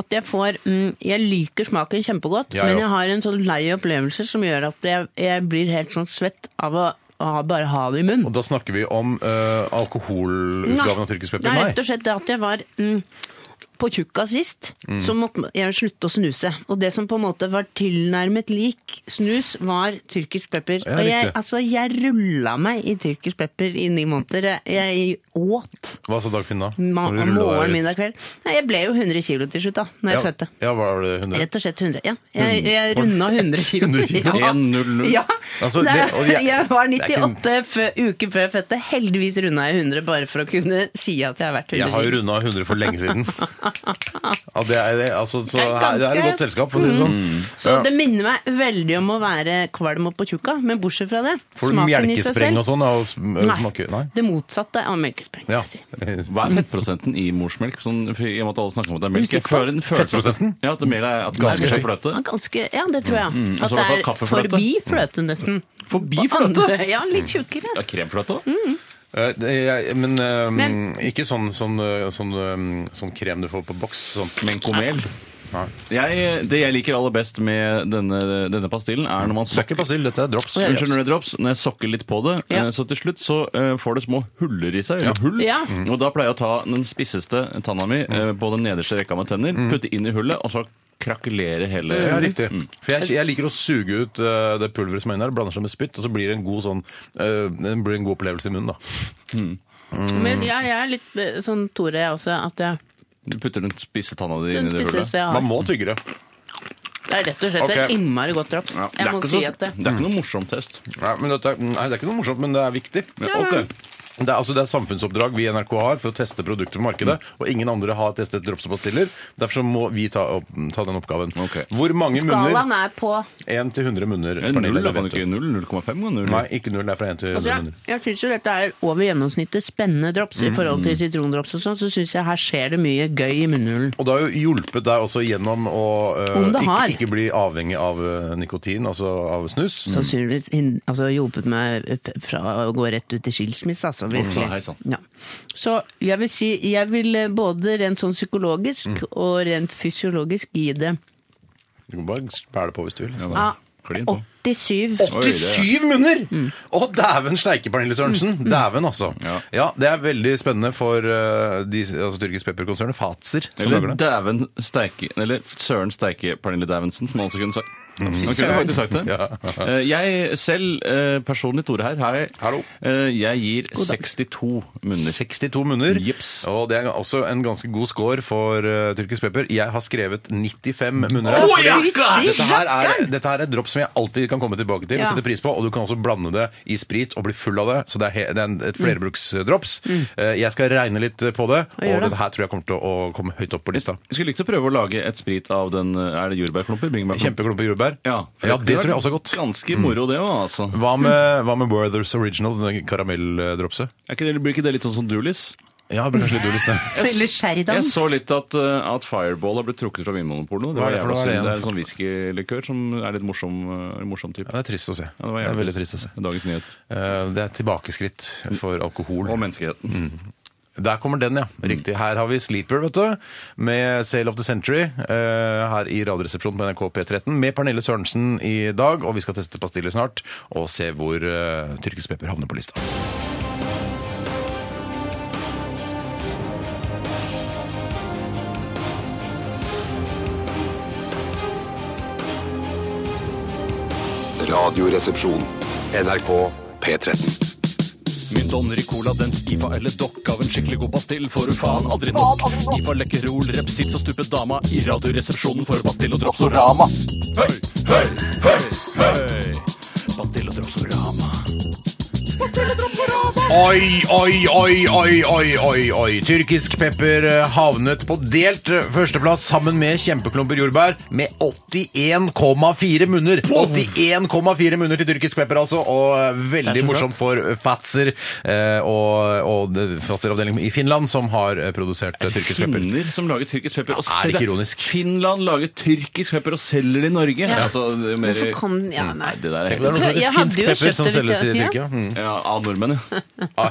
At jeg får mm, Jeg liker smaken kjempegodt,
Ja, ja.
men jeg har en sånn lei opplevelse som gjør at jeg, jeg blir helt sånn svett av å ha- bare ha det i munnen.
Og da snakker vi om eh, alkoholutgaven av tyrkisk pepper?
Nei, rett og slett det at jeg var mm, på tjukka sist,
Mm.
så måtte jeg slutte å snuse. Og det som på en måte var tilnærmet lik snus, var tyrkisk pepper.
Ja,
og jeg,
riktig.
altså, jeg rulla meg i tyrkisk pepper i ni måneder. Jeg, jeg åt
Hva sa Dagfinn da?
ma
Når du rullet deg
morgen,
ut?
middag, kveld. Nei, jeg ble jo 100 kilo til slutt, da, når jeg
ja,
fødte.
Ja, var det 100?
Rett og slett 100. Ja, jeg, jeg runda 100
[LAUGHS]
kilo.
100 kilo.
Ja.
100.
Ja.
Altså,
det,
det- og jeg-
jeg, var
det er ikke-
98 fø- uker før jeg fødte. Heldigvis runda jeg 100 bare for å kunne si at jeg har vært 100
Jeg har jo
kilo.
runda 100 for lenge
[LAUGHS]
siden. Ja, det er, det- altså, så
Det er
her, det er et
ganske- Mm.
godt selskap, for å si det sånn.
Så det minner meg veldig om å være kvalm og på tjukka, men bortsett fra det,
Får du melkespreng og sånn? av sm-
Nei.
Smaker, nei.
Det motsatte av melkespreng. vil
Ja.
jeg si.
Hva er fettprosenten i morsmelk? Sånn, for I og med at alle snakker om at det er melk. Jeg
Usikker.
føler en følelse av-
Fettprosenten?
Ja, at det mer er at det
Ganske
nærmer seg
høy.
fløte.
Ja, Ganske, ja, det tror
Mm.
og
jeg. At
så i hvert fall
det er
kaffefløte.
forbi fløte, nesten.
Forbi
På
fløte?
andre- Ja, litt tjukkere.
Ja, kremfløte òg.
Mm.
Eh, det- jeg- Men, eh,
Men-
ikke sånn, sånn, eh, sånn, eh, sånn krem du får på boks. Sånn.
Menkomel.
Nei.
Jeg, det jeg liker aller best med denne, denne pastillen, er når man
Det er
sokker
ikke basill, dette er drops.
Å, ja.
Unnskyld når det drops, når jeg sokker litt på det,
Ja.
eh, så til slutt så eh, får det små huller i seg, eller hull,
Ja.
og da pleier jeg å ta den spisseste tanna mi eh, på den nederste rekka med tenner, putte inn i hullet, og så krakelere hele
Ja, riktig.
Mm.
For jeg, jeg liker å suge ut eh, det pulveret som er inni der, blander seg med spytt, og så blir det en god, sånn, eh, det blir en god opplevelse i munnen. da.
Mm.
Men jeg, jeg er litt eh, sånn Tore, jeg også, at jeg
Du putter den spisse tanna di inn
den
i det hullet.
spisseste jeg har.
Man må tygge det.
Det er rett og slett
Ok.
et innmari godt drops.
Ja,
Jeg
er
må
ikke
si
så-
at det
det er ikke noe morsom test.
Nei, men dette, er- nei, det er ikke noe morsomt, men det er viktig.
Ja, ok.
Det er, altså, det er samfunnsoppdrag vi i NRK har for å teste produkter på markedet.
Mm.
Og ingen andre har testet drops og pastiller. Derfor så må vi ta, opp, ta den oppgaven.
Ok.
Hvor mange
Skalaen
munner?
er på
1 til 100 munner.
Er det
Pernille,
Null, da
vet
kan du
du.
ikke null, 0,5 og null.
Nei, ikke null. Det er fra 1 til 100
Altså, jeg,
munner.
jeg syns jo dette er over gjennomsnittet spennende drops
Mm.
i forhold til sitrondrops og sånn, så syns jeg her skjer det mye gøy i munnhulen.
Og det har jo hjulpet deg også gjennom å eh,
Om det
ikke,
har.
ikke bli avhengig av eh, nikotin, altså av snus.
Mm.
Sannsynligvis hin- altså, hjulpet meg f- fra å gå rett ut i skilsmisse, altså. Virkelig.
Å, hei sann.
Ja. Så jeg vil si, jeg vil eh, både rent sånn
Mm.
psykologisk og rent fysiologisk gi det
Du kan bare spæle på hvis du vil.
ah,
Klin på.
87.
Oi, det er-
87 munner! Mm. Å, dæven steike, Pernille Sørensen! Dæven, altså. Ja.
Ja.
det er veldig spennende for eh, de, altså, tyrkisk pepperkonsernet Fatser. Som
Eller
lager det.
Dæven Steike Eller Søren Steike Pernille Davensen, som han også kunne sagt.
Mm.
Han kunne
søren.
faktisk sagt det. [LAUGHS] Eh, Jeg selv, eh, personlig Tore her, hei.
Hallo.
Eh, jeg gir 62 munner.
62 munner.
Jips.
Og det er også en ganske god score for eh, tyrkisk pepper. Jeg har skrevet 95 munner.
Å,
fordi
jakker!
Dette her, er, dette her er et dropp som jeg alltid kan komme tilbake til og
Ja.
sette pris på. Og du kan også blande det i sprit og bli full av det. Så det er, he, det er en, et flerbruksdrops. Eh, Jeg skal regne litt på det, og,
gjør det.
den her tror jeg kommer til å komme høyt opp på lista.
Jeg skulle likt å prøve å lage et sprit av den eh, Er det jordbærklumper? Bringebærklumper?
Kjempeklumper jordbær.
Ja,
ja, det tror jeg også er godt.
Ganske moro, det òg, altså.
Hva med, hva med Werthers Original, den karamelldropset?
Er ikke det, blir ikke det litt sånn som Dulis?
Ja, det blir kanskje litt dårlig snø.
Eller sherrydans.
Jeg så litt at, eh, at Fireball har blitt trukket fra Vinmonopolet nå. Det,
Hva
var
er det
jævla
for noe?
synd.
Hva er det
det er
igjen?
en sånn whiskylikør som er litt morsom, eh, morsom type.
Ja, det er trist å se.
Ja, det var
det er
jævlig
veldig trist å se.
Dagens nyhet.
Eh, Det er tilbakeskritt for alkohol.
Og menneskeheten.
Mm. Der kommer den, ja. Riktig. Her har vi Sleeper, vet du. Med Sale of the Century eh, her i Radioresepsjonen på NRK P13. Med Pernille Sørensen i dag. Og vi skal teste pastiller snart og se hvor eh, tyrkisk pepper havner på lista.
Radioresepsjon.
NRK P13.
Min Don Ricola, den IFA eller dokk av en skikkelig god pastill får du faen aldri nok. IFA lekkerol, repsits og stupet dama i radioresepsjonen for pastill og dropsorama. Høy, høy, høy, høy. Pastill og dropsorama.
Oi, oi, oi, oi, oi, oi, oi. Tyrkisk pepper eh, havnet på delt eh, førsteplass sammen med kjempeklumper jordbær med 81,4 munner. 81,4 munner til tyrkisk pepper, altså. Og eh, veldig morsomt for eh, Fatser eh, og, og det- Fatser-avdelingen i Finland, som har eh, produsert eh, tyrkisk pepper.
Finner som lager tyrkisk pepper og
er det ikke ironisk?
Finland lager tyrkisk pepper og selger det i Norge. Altså, det er mer...
Hvorfor kan den Ja, nei.
det der er
Det er noe som
Jeg
heter
hadde
finsk
jo
pepper
kjøpt
som
det hvis
selges i
jeg-
Tyrkia. Mm.
[LAUGHS]
Ja, av nordmenn, ja.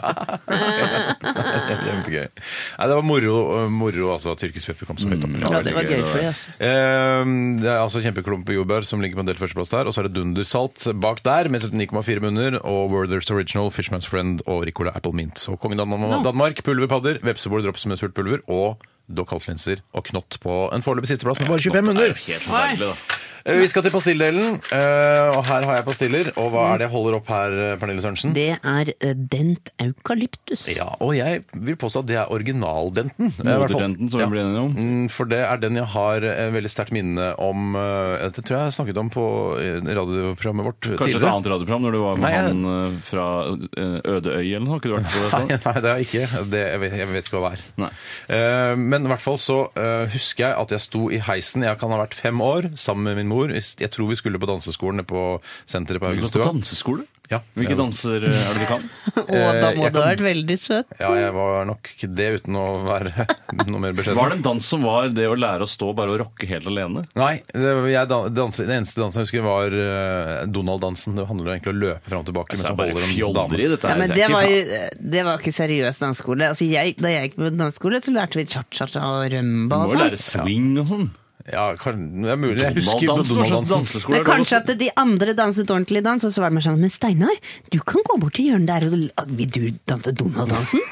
Kjempegøy. Nei, det var moro, moro altså, at tyrkisk pepper kom så høyt opp.
Ja, det var gøy for deg, altså.
Eh, Det er altså kjempeklump jordbær som ligger på en delt førsteplass der. Og så er det Dundersalt bak der, med 79,4 munner. Og Werthers Original, Fishman's Friend og Ricola Apple Mint. Så kongen Dan Danmark, pulverpadder, vepsebol drops med surt pulver og Dock halslinser og knott på en foreløpig sisteplass med bare 25 munner.
Helt forferdelig, da.
Eh, Vi skal til pastilldelen, eh, og her har jeg pastiller. Og hva er det jeg holder opp her, eh, Pernille Sørensen?
Det er eh, dent eukalyptus. [LAUGHS]
Ja, og jeg vil påstå at det er originaldenten. eh, i hvert fall.
Moderdenten, som vi ble enige om.
Mm, For det er den jeg har eh, veldig sterkt minne om eh, Det tror jeg jeg snakket om på eh, radioprogrammet vårt
Kanskje et
tidligere.
annet radioprogram når du var med
Nei, jeg-
han eh, fra eh, Ødeøy eller noe? Har ikke du vært på det?
[LAUGHS] [LAUGHS] Nei,
før?
nei, det er ikke. Det, jeg, vet, jeg vet ikke hva det er.
Nei.
Eh, men i hvert fall så eh, husker jeg at jeg sto i heisen, jeg kan ha vært fem år, sammen med min mor. Jeg tror vi skulle på danseskolen nede på senteret på
Har du gått på
Haugenstua.
danseskole?
Ja.
Hvilke danser eh, er det
[LAUGHS]
du kan?
Å, da må
jeg
du ha vært veldig søt.
Ja, jeg var nok ikke det uten å være [LAUGHS] noe mer beskjeden.
Var det en dans som var det å lære å stå bare og rocke helt alene?
Nei, det, jeg dan- danser, den eneste dansen jeg husker var eh, Donald-dansen. Det handler jo egentlig om å løpe fram og tilbake.
Det
mens
Altså, er
man
bare
holder en dame.
fjolleri, dette
Ja,
her.
men det var, jo, det var ikke seriøs danseskole. Altså jeg, da jeg gikk på danseskole, så lærte vi cha-cha-cha og
Du
rømba
må
og
jo lære
sånn.
swing og sånn.
Ja, kan, det er mulig. Jeg husker
Donald-dans, hva slags
Donald-dansen.
danseskole
Men
er det?
kanskje at de andre danset ordentlig dans, og så var det mer sånn Men Steinar, du kan gå bort til hjørnet der, og og vil du danse Donald-dansen?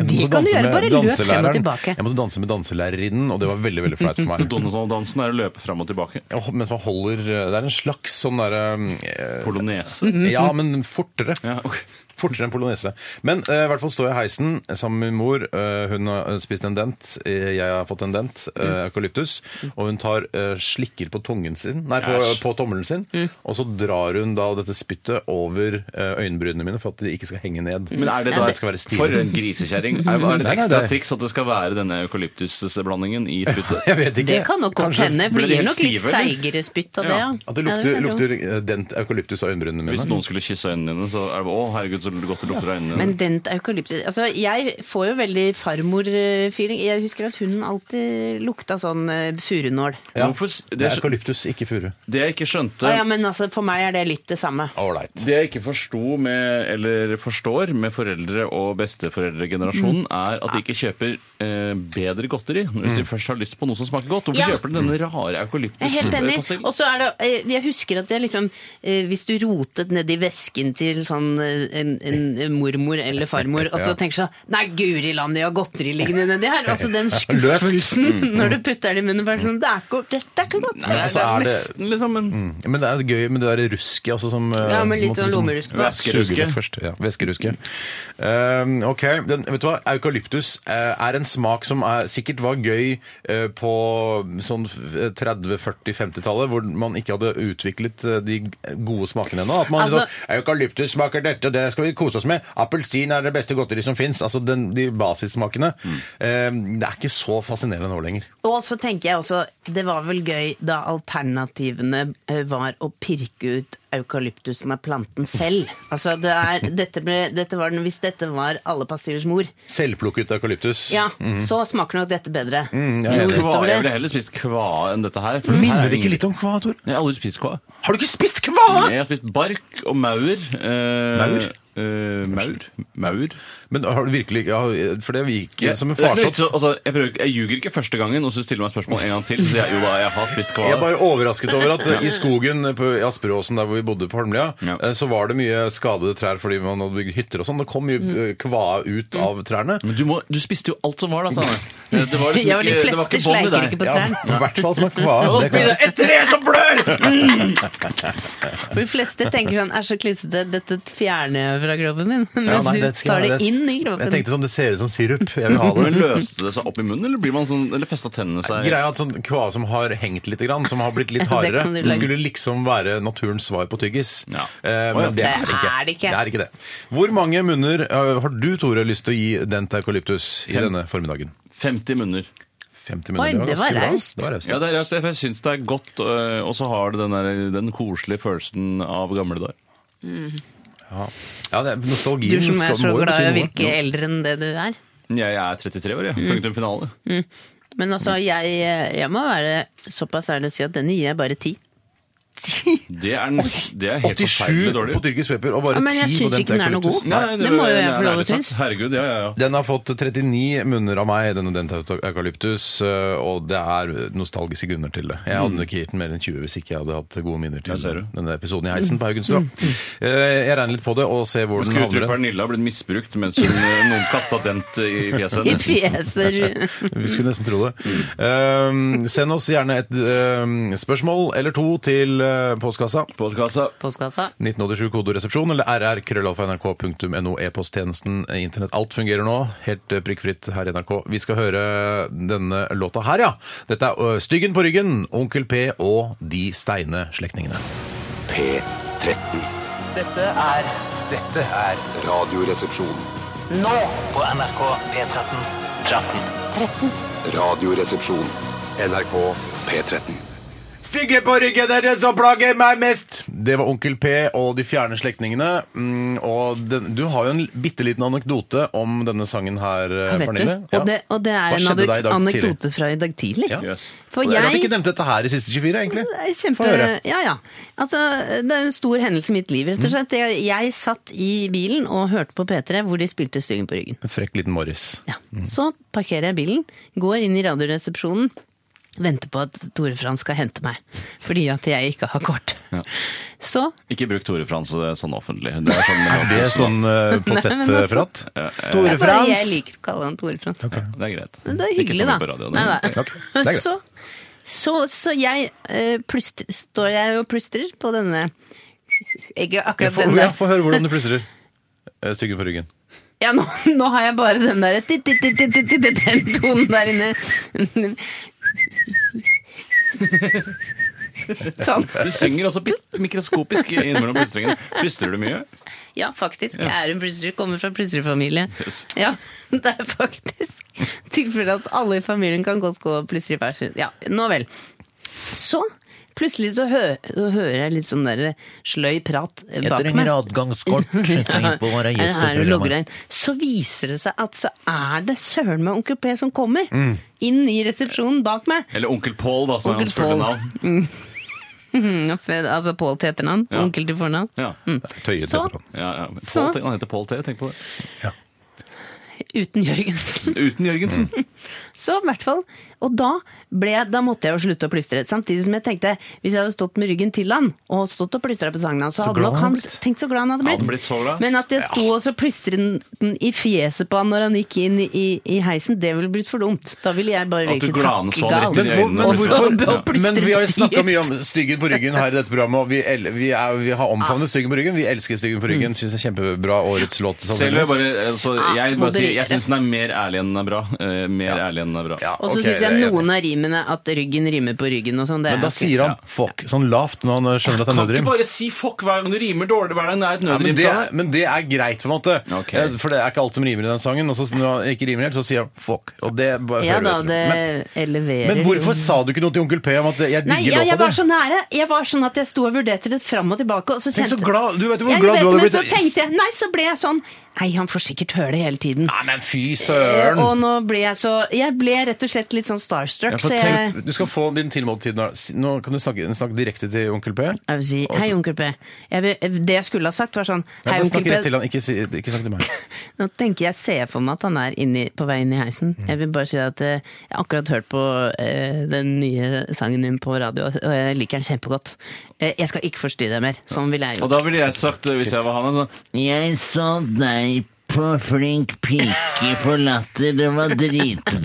Det kan du gjøre, bare løp frem og tilbake.
Jeg måtte danse med danselærerinnen, og det var veldig veldig flaut
[LAUGHS]
for meg.
Donald-dansen er å løpe fram og tilbake.
Ja, Mens man holder eh, Det er en slags sånn derre eh,
Polonese.
Mm. Mm-hmm.
Ja, men fortere.
Ja, ok.
Fortere enn polonese. Men eh, i hvert fall står jeg i heisen sammen med min mor. Eh, hun har eh, spist en dent, eh, jeg har fått en dent, eh,
Mm.
eukalyptus. Og hun tar eh, slikker på tungen sin, nei, på,
Æsj.
på tommelen sin.
Mm.
Og så drar hun da dette spyttet over eh, øyenbrynene mine for at de ikke skal henge ned.
Men er det
For
da
at jeg skal være
for
stive.
en grisekjerring? Er, er det
Nei,
et
nei,
ekstra
det-
triks at det skal være denne eukalyptusblandingen i spyttet?
[LAUGHS] Jeg vet ikke.
Det kan nok godt
Kanskje
hende, for
Ble
det
de
gir
helt
nok litt
stive, eller?
seigere spytt av det.
Ja.
Ja.
At
Ja,
det lukter,
kan jeg tro.
lukter eh, dent eukalyptus av øyenbrynene mine.
Hvis noen skulle kysse øynene dine, så er det å herregud, så godt det lukter av øynene
Men
dine.
dent eukalyptus Altså, jeg får jo veldig farmor-feeling. Jeg husker at hun alltid lukta sånn eh, furunål.
ja.
Hvorfor s-
Det
det,
er eukalyptus, ikke furu.
det jeg ikke skjønte
Ah, ja, men altså, for meg er det litt det samme.
Ålreit.
Det jeg ikke forsto med, eller forstår med foreldre og
Mm.
besteforeldregenerasjonen, er at de ikke kjøper eh, bedre godteri hvis
Mm.
de først har lyst på noe som smaker godt. Hvorfor
Ja.
kjøper de denne rare
Jeg er helt enig. Og
eukalyptuspastillen?
så er det eh, Jeg husker at jeg liksom eh, Hvis du rotet nedi vesken til sånn eh, en, en mormor eller farmor, og [LAUGHS] så tenker sånn Nei, guri land, de har godteri liggende nedi her! Altså [LAUGHS] den skuffelsen [LAUGHS] når du putter det i munnen. Bare sånn Det er ikke, det, det er ikke godt.
Nei, altså, er det-
Nesten, liksom, men
Men det er gøy med det der rusket. Altså, som, eh,
Ja, med
måtte
litt sånn
liksom-
lommerusk på.
Væskeruske.
Suge vekk først. Ja, væskeruske. Eh, ok, den, vet du hva? Eukalyptus eh, er en smak som er, sikkert var gøy eh, på sånn f- 30-, 40-, 50-tallet, hvor man ikke hadde utviklet eh, de gode smakene ennå. At man
Altså-
liksom Eukalyptus smaker dette, og det skal vi kose oss med. Appelsin er det beste godteri som fins. Altså den, de basissmakene.
Mm.
Eh, det er ikke så fascinerende nå lenger.
Og så tenker jeg også, det var vel gøy da alternativene eh, var å pirke ut eukalyptusen av planten selv. Altså, det er, dette ble, dette var den, hvis dette var alle pastillers mor,
Selvplukket eukalyptus.
ja, så smaker nok dette bedre.
jeg er
Noe
enig.
kva, jeg
utover Mm, det.
ville heller spist kva enn dette her. for her
Minner
er
det ikke
ingen-
litt om kva, Tor?
Jeg har aldri spist kva.
Har du ikke spist kva?!
Jeg har spist bark og maur. eh,
Maur?
eh, maur? Maur?
Men har du virkelig ja, For det gikk
Ja,
som en
det er ikke
farsott.
så- altså, jeg, prøver, ikke- jeg ljuger ikke første gangen, og så stiller meg spørsmål en gang til. Så jeg, jo da, jeg har spist
Jeg er
kva.
bare overrasket over
[LAUGHS]
at eh, i skogen på i Asperåsen, der hvor vi bodde på Holmlia,
Ja.
eh, så var det mye skadede trær fordi man hadde bygd hytter og sånn. Det kom mye
Mm.
eh, kvae ut av trærne.
Men du, må, du spiste jo alt som var, da, Steinar. Det, det var liksom
Ja,
[LAUGHS]
de
ikke, det var
fleste
ikke bånd i
sleiker
deg.
ikke på
Ja,
trærne.
I hvert fall smak kvae.
Nå
Det kan-
spiser jeg et tre som
[LAUGHS]
blør!
For de fleste tenker sånn, er så klissete, dette fjerner jeg fra kroppen min. Men
Ja, nei,
du
det skal
tar
jeg-
det inn i
Jeg
kroppen.
tenkte sånn, det ser ut som sirup. Jeg vil ha det.
[LAUGHS] Men løste det seg opp i munnen, eller, blir man sånn, eller festa tennene seg?
Greia er at sånn kvae som har hengt litt, grann, som har blitt litt
Ja, [LAUGHS] det
hardere,
kan du
det
lage.
skulle liksom være naturens svar på tyggis.
Ja.
Eh,
Å ja.
Men det er
Det
det ikke.
er det ikke.
Det er ikke det. Hvor mange munner eh, har du, Tore, lyst til å gi dent eukalyptus i denne formiddagen?
50 munner.
50 munner.
Oi, det var
ganske bra.
raust.
Det var raust.
Ja, det er raust. Jeg syns det er godt, øh, og så har det den, der, den koselige følelsen av gamle dager.
Ja, det er nostalgi.
Du som
skal-
er så
må jo
glad i å
bety noe.
virke eldre enn det du er.
Jeg er 33 år, jeg. Punktum finale.
Men altså, jeg, jeg må være såpass ærlig å si at denne gir jeg bare ti. ti.
Det er, nes- det er helt
87
forferdelig
på
dårlig.
tyrkisk pepper og bare
Ja, men
10
jeg
på
syns
den
ikke den er noe
eukalyptus.
god. Det må jo jeg
ærlig
få lov til,
talt.
synes.
Herregud, ja, ja, ja.
Den har fått 39 munner av meg, denne dentaukalyptus, eh, og det er nostalgiske grunner til det. Jeg hadde nok ikke gitt den mer enn 20 hvis ikke jeg hadde hatt gode minner til
Der ser du.
denne episoden i heisen på Haugenstua. Eh, Jeg regner litt på det og ser hvor den
Skulle tro
havner.
Pernille har blitt misbrukt mens hun, øh, [LAUGHS] noen kasta dent i fjeset
I
hennes.
fjeser.
[LAUGHS] Vi skulle nesten tro det. Eh, Send oss gjerne et eh, spørsmål eller to til eh, postkassa.
Postkassa.
Postkassa.
1987 kodoresepsjon eller rrkrøllalfa.nrk.no e-posttjenesten eh, internett. Alt fungerer nå, helt eh, prikkfritt her i NRK. Vi skal høre denne låta her, ja. Dette er eh, Styggen på ryggen, Onkel P og De steine slektningene.
P13.
Dette er
Dette er
Radioresepsjon.
nå på NRK P13.
Radioresepsjon. NRK P13.
Stygge på ryggen, det er det som plager meg mest! Det var Onkel P og De fjerne slektningene. Mm, og den, du har jo en bitte liten anekdote om denne sangen her, eh,
Vet du?
Pernille.
Og det, og det
Hva
er en
skjedde deg i
anek-
dag tidlig?
anekdote fra i dag tidlig.
Ja.
Yes.
For
Og jeg har
jeg
ikke nevnt dette her i siste 24, egentlig.
Det er
Få
Kjempe...
høre. Mm.
Ja, ja. Altså, det er jo en stor hendelse i mitt liv, rett og slett. Jeg, jeg satt i bilen og hørte på P3 hvor de spilte Styggen på ryggen.
En frekk liten Morris.
Ja. Så parkerer jeg bilen, går inn i radioresepsjonen, venter på at Tore Frans skal hente meg. Fordi at jeg ikke har kort. Så
Ikke bruk Tore Frans eh, sånn offentlig. Det er sånn mellom
Det er
tusen,
sånn uh, på
Nei,
sett
men
eh,
hvorfor?
fratt.
det
Tore
er bare jeg
Frans.
liker å kalle han Tore Frans.
da. Det er greit.
Men Det er hyggelig,
ikke sånn
da.
på radioen.
Nei, nei.
Ok, det er greit.
Så, så, så jeg eh, plystrer, står jeg og plystrer på denne Ikke
Jeg
akkurat
får,
den
ja,
der.
få høre hvordan du plystrer. Eh, Styggen på ryggen.
Ja, nå, nå har jeg bare den der tit, tit, tit, tit, tit, tit, Den tonen der
[LAUGHS]
inne. Sånn.
Du synger også bitt mikroskopisk innimellom plystringen. Plystrer du mye?
Ja, faktisk. Jeg er en plystrer. Kommer fra plystrefamilie.
Yes.
Ja, [LAUGHS] det er faktisk tilfellet at alle i familien kan godt gå og plystre hver sin. Ja, nå vel. Så plutselig så, hø så hører jeg litt sånn der sløy prat eh, bak meg.
adgangskort.
[LAUGHS] Er det her du logger deg inn? Så viser det seg at så er det søren meg onkel P som kommer inn i resepsjonen bak meg.
Eller Onkel Pål, da, som er
Onkel
hans fulle
Paul.
navn.
Mm, Altså Pål til etternavn,
Ja.
onkel til fornavn.
Ja.
Tøyet
Så-
etter ham.
Ja, ja. Paul, T- han heter Pål T, tenk på det.
Uten Jørgensen.
Uten Jørgensen.
Så i hvert fall. Og da, ble, jeg- da måtte jeg jo slutte å plystre. Samtidig som jeg tenkte, hvis jeg hadde stått med ryggen til han, og stått og plystra på sangen hans, så, hadde
glad
nok
han
han
hadde blitt.
tenkt så glad han hadde blitt.
Hadde blitt så glad.
Men at jeg sto og så plystret den i fjeset på han når han gikk inn i, i, i heisen, det ville blitt for dumt. Da ville jeg bare
At du
virket
glane så han
hakkegal.
rett i
Men, hvor-
øynene.
men,
og
hvorfor,
plystret. Ja.
plystret
men vi har jo
stygt.
snakka mye om styggen på ryggen her i dette programmet, og vi, el vi, er, vi har omfavnet styggen på ryggen. Vi elsker styggen på
Mm.
ryggen. Syns det er kjempebra årets låt.
Selv
sannsynligvis.
vil jeg bare, altså, jeg bare sier, jeg
moderere.
syns den er mer ærlig enn den er bra. Eh, mer ærlig enn den er bra.
Ja,
Og så synes
ok,
syns
det er
jeg
enig.
noen av rimene at ryggen rimer på ryggen og sånn. det
Men
er
da
ok.
sier han fuck sånn lavt når han skjønner at det er
Kan ikke
nødrim.
bare si fuck hver gang du rimer dårlig hver gang det er et
Ja, men,
nødrim.
det,
sa jeg.
men det er greit, på en måte.
Ok.
Eh, For det er ikke alt som rimer i den sangen. Og så når han ikke rimer helt, så sier han fuck. Og det bare
Ja
hører
da,
du
det
etter.
eleverer
Men, men hvorfor sa du ikke noe til onkel P om at jeg
Nei,
digger
jeg, jeg
låta
var
di?
så nære. Jeg var sånn at jeg sto og vurderte det fram og tilbake. Og så
Tenk
kjente...
så glad, du vet jo hvor
Jeg
glad
vet,
du hadde
men
blitt.
Så tenkte jeg, nei, så ble jeg sånn Nei, han får sikkert høre det hele tiden.
Nei, men fy
Eh,
søren!
Og nå ble jeg så Jeg ble rett og slett litt sånn starstruck,
Ja, for
så jeg
tenk- Du skal få din tilmåletid nå. Si- Nå kan du snakke, snakke direkte til onkel P.
jeg vil si, Hei, onkel P. Jeg vil, det jeg skulle ha sagt, var sånn
Altså-
Hei,
Ja, bare
onkel
snakk rett til
P.
han, ikke, si, ikke snakk til meg.
Nå tenker jeg ser for meg at han er inni, på vei inn i heisen.
Mm.
Jeg vil bare si at eh, jeg har akkurat hørt på eh, den nye sangen din på radio, og jeg liker den kjempegodt. Eh, jeg skal ikke forstyrre deg mer. Sånn ville jeg
Og
gjort.
da ville jeg sagt, eh, hvis jeg var han, sånn
Jeg så deg på Flink pike på Latter, det var dritbra.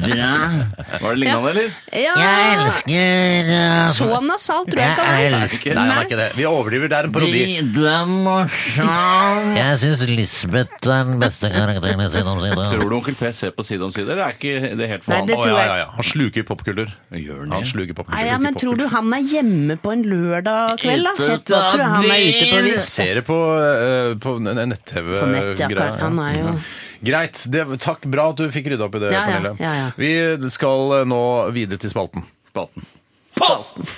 Var det lignende, eller?
Jeg
Ja!
elsker uh,
Så nasalt tror jeg
Jeg
ikke han Altså, er.
elsker
Nei, han er ikke det. Vi overdriver. Det er en parodi.
Du er morsom. Jeg syns Lisbeth er den beste karakteren i Side om
Tror
side.
du onkel P ser på Side om side, eller er ikke det helt for
Nei,
han?
det
Å,
tror
ja,
jeg.
ja, ja. Han sluker popkultur.
Gjør han det?
Han sluker popkultur.
Nei, ja, men tror du han er hjemme på en lørdag kveld, da?
Ute
Jeg tror,
på
tror han er ute på
byen.
vis.
Ser det på, eh, på nett-TV.
På nett, ja.
greia,
Han er jo
Greit. Det, takk, bra at du fikk rydda opp i det,
Ja, ja,
Pernille.
ja, ja.
Vi skal eh, nå videre til spalten.
Spaten.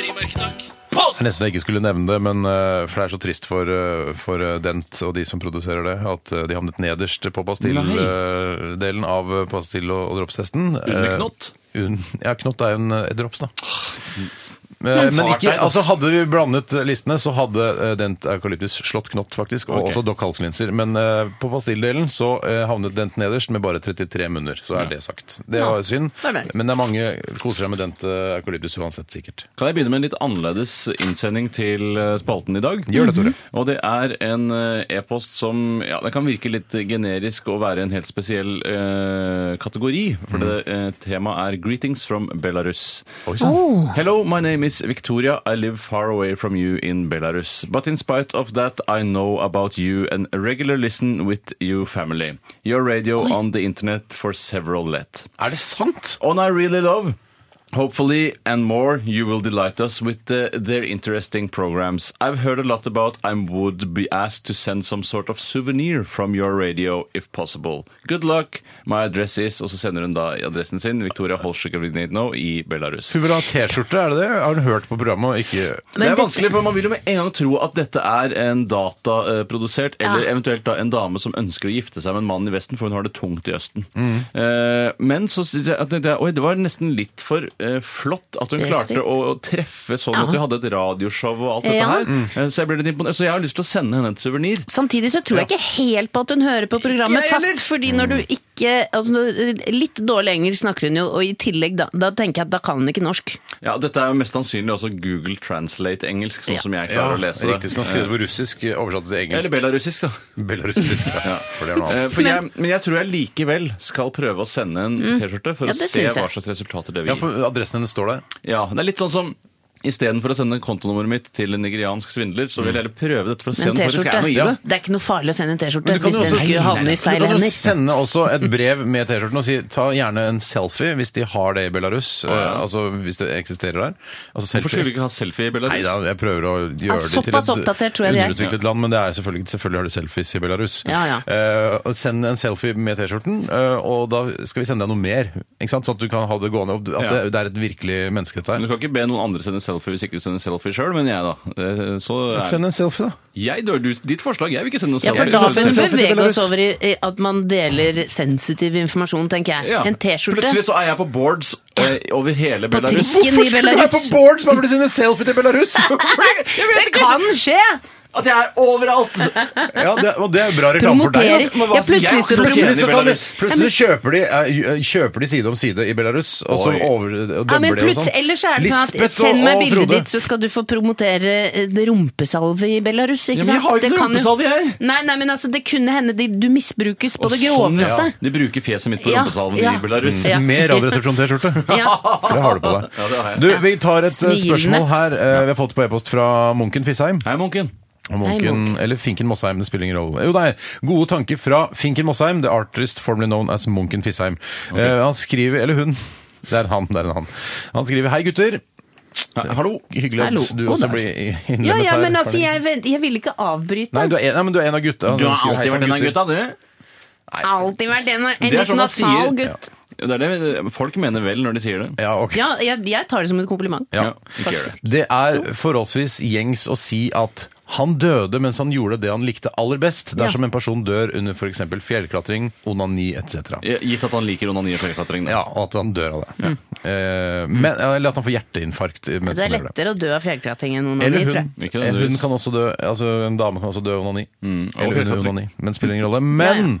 er nesten jeg ikke skulle nevne det, men eh, for det er så trist for, eh, for eh, Dent og de som produserer det, at eh, de havnet nederst på pastilldelen av eh, pastill- og, og dropstesten.
Under
Eh,
knott?
Un, ja, knott er jo en eh, drops, da. Eh,
Men
Men
fart
ikke,
deg, ass.
altså hadde vi blandet eh, listene, så hadde eh, Dent eukalyptus slått knott, faktisk. Og
Ok.
også Doc halslinser. Men eh, på pastilldelen så eh, havnet Dent nederst med bare 33 munner. Så er
Ja.
det sagt. Det var synd.
det er det.
Men det er mange koser seg med Dent eh, eukalyptus uansett, sikkert.
Kan jeg begynne med en litt annerledes innsending til eh, spalten i dag?
Gjør det, Tore.
Mhm. Og det er en eh, e-post som ja, det kan virke litt generisk og være en helt spesiell eh, kategori. For det eh, temaet er 'Greetings from Belarus'.
Mm-hmm.
Oh.
Oi sann. Oh.
Hello, my name is Victoria. I live far away from you in Belarus. But in spite of that, I know about you and regular listen with you family. Your radio on the internet for several let.
Er det sant?
On I Really Love. Hopefully, and more, you will delight us with uh, their interesting programs. I've heard a lot about I would be asked to send some sort of souvenir from your radio, if possible. Good luck. My address is Og så sender hun da adressen sin, Victoria Holschikovnitno i Belarus.
Hun vil ha T-skjorte, er det det? Har hun hørt på programmet og ikke
det er vanskelig, for man vil jo med en gang tro at dette er en dataprodusert, eller eventuelt da en dame som ønsker å gifte seg med en mann i Vesten, for hun har det tungt i Østen. Eh, men så synes jeg at det, oi, det var nesten litt for eh, flott at hun
Spesifikt.
klarte å, å treffe sånn
Ja.
at vi hadde et radioshow og alt dette
Ja.
her. Eh, Så jeg ble litt imponert. Så jeg har lyst til å sende henne et suvenir.
Samtidig så tror jeg ikke helt på at hun hører på programmet
Ikke jeg heller.
fast, fordi når du
Mm.
ikke altså, når- Litt dårlig engelsk snakker hun jo, og i tillegg da, da tenker jeg at da kan hun ikke norsk.
Ja, dette er jo mest sannsynlig også Google Translate engelsk, sånn
Ja.
som jeg klarer å lese det.
Riktig, som har skrevet på russisk, eh, oversatt til engelsk.
Eller belarusisk, da.
Belarusisk. Ja. For det er noe
Eh,
annet.
For jeg, men jeg tror jeg likevel skal prøve å sende en T-skjorte for
Mm. Ja,
å
det
se
synes jeg.
hva slags resultater det vil
Ja,
gi. Ja,
for adressen hennes står der.
det er litt sånn som Istedenfor å sende kontonummeret mitt til en nigeriansk svindler, så vil jeg heller prøve dette for å se
Men
om det faktisk er
T-skjorte
noe i
ja.
det.
Det er ikke noe farlig å sende en T-skjorte
Men du kan
hvis den
jo også si-
skulle havne i
Men
feil
Du kan jo
hender.
sende også et brev med T-skjorten og si ta gjerne en selfie hvis de har det i Belarus.
ja.
eh, Altså hvis det eksisterer der. Altså,
Hvorfor skulle vi ikke ha selfie i Belarus?
Nei da, jeg prøver å gjøre
Altså,
det til
såpass oppdatert
et
tror jeg de er.
underutviklet land, men det er selvfølgelig, selvfølgelig har de selfies i Belarus.
Ja, ja.
Eh, og send en selfie med T-skjorten, eh, og da skal vi sende deg noe mer. Ikke sant? Sånn at du kan ha det gående. og At
Ja.
det, det er et virkelig menneske, dette
Men Du
her.
kan ikke be noen andre sende selfie hvis ikke du sender selfie sjøl, men jeg, da. Eh, Så er
Send en selfie, da.
jeg dør. Du, ditt forslag. Jeg vil ikke sende noen
Ja, for
selfie.
da
Ja,
vil
send
vi
selfie til
bevege oss
Belarus.
over i i at man deler sensitiv informasjon, tenker jeg.
Ja.
En T-skjorte.
Plutselig så er jeg på boards eh, over hele
På
Belarus.
trikken i Belarus.
board som har blitt sende selfie til Belarus?!
Det kan skje!
At jeg er overalt!
[LAUGHS] Ja, det, og det er jo bra reklame for deg.
Promoterer.
da. Men hva
Ja,
sier
plutselig
jeg?
så
plutselig,
promoterer de
så kan de,
Belarus.
plutselig så kjøper de, eh, kjøper de side om side i Belarus, og så
Oi.
over, og
Ja, men
dobler de og
plutselig,
sånn.
ellers er det sånn at
Lisbeth og-
Send meg
og Frode.
bildet ditt, så skal du få promotere eh, det rumpesalve i Belarus. Ikke
Ja, men jeg
sant?
har jo ikke
Det
noe
kan jo-
rumpesalve, jeg.
Nei, nei, men altså, det kunne hende de, du misbrukes på det
Sånn, ja. [LAUGHS]
groveste.
De bruker fjeset mitt på
Ja,
rumpesalven
ja.
i Belarus.
Ja.
Med Radioresepsjon-T-skjorte.
[LAUGHS] Ja.
For det har du på deg.
[LAUGHS] Ja, det har jeg.
Du, Vi tar et eh,
Smilende.
spørsmål her. eh, Vi har fått på e-post fra Munken Fisheim.
Hei, Munken.
Og Munken, eller Finken Mossheim, det spiller ingen rolle. Jo, nei, Gode tanker fra Finken Mossheim, the artist formerly known as Munken Fisheim. Eh, han skriver, eller hun Det er en han, det er en han. Han skriver Hei, gutter.
Hei, Hallo.
Hyggelig
Hallo,
at du
god
også
dag.
blir i- innlemmet
Ja, ja,
her.
men altså,
Karin.
jeg, vent- jeg vil ikke avbryte.
Nei, du er en, nei, men du er en av gutta.
Du har alltid vært en av gutta, du.
Alltid vært en, en
Det er sånn
litt
man sier.
nasal gutt.
Ja, Det er det folk mener vel når de sier det.
Ja, ok.
Ja, jeg, jeg tar det som en kompliment.
Ja.
ikke gjør det.
Det er forholdsvis gjengs å si at han døde mens han gjorde det han likte aller best, dersom en person dør under f.eks. fjellklatring, onani etc.
Ja, Gitt at han liker onani og fjellklatring. da.
Ja, og at han dør av det. Eh, men, eller at han får hjerteinfarkt mens
Mm. Det er
han gjør sånn det.
lettere å dø av fjellkratting enn onani,
Eller
tror
hun.
jeg.
Ikke
En, hun
nødvendigvis. Mm,
kan også dø, altså en dame kan også dø av onani.
og
eller under
fjellklatring.
onani, men spiller ingen rolle. Men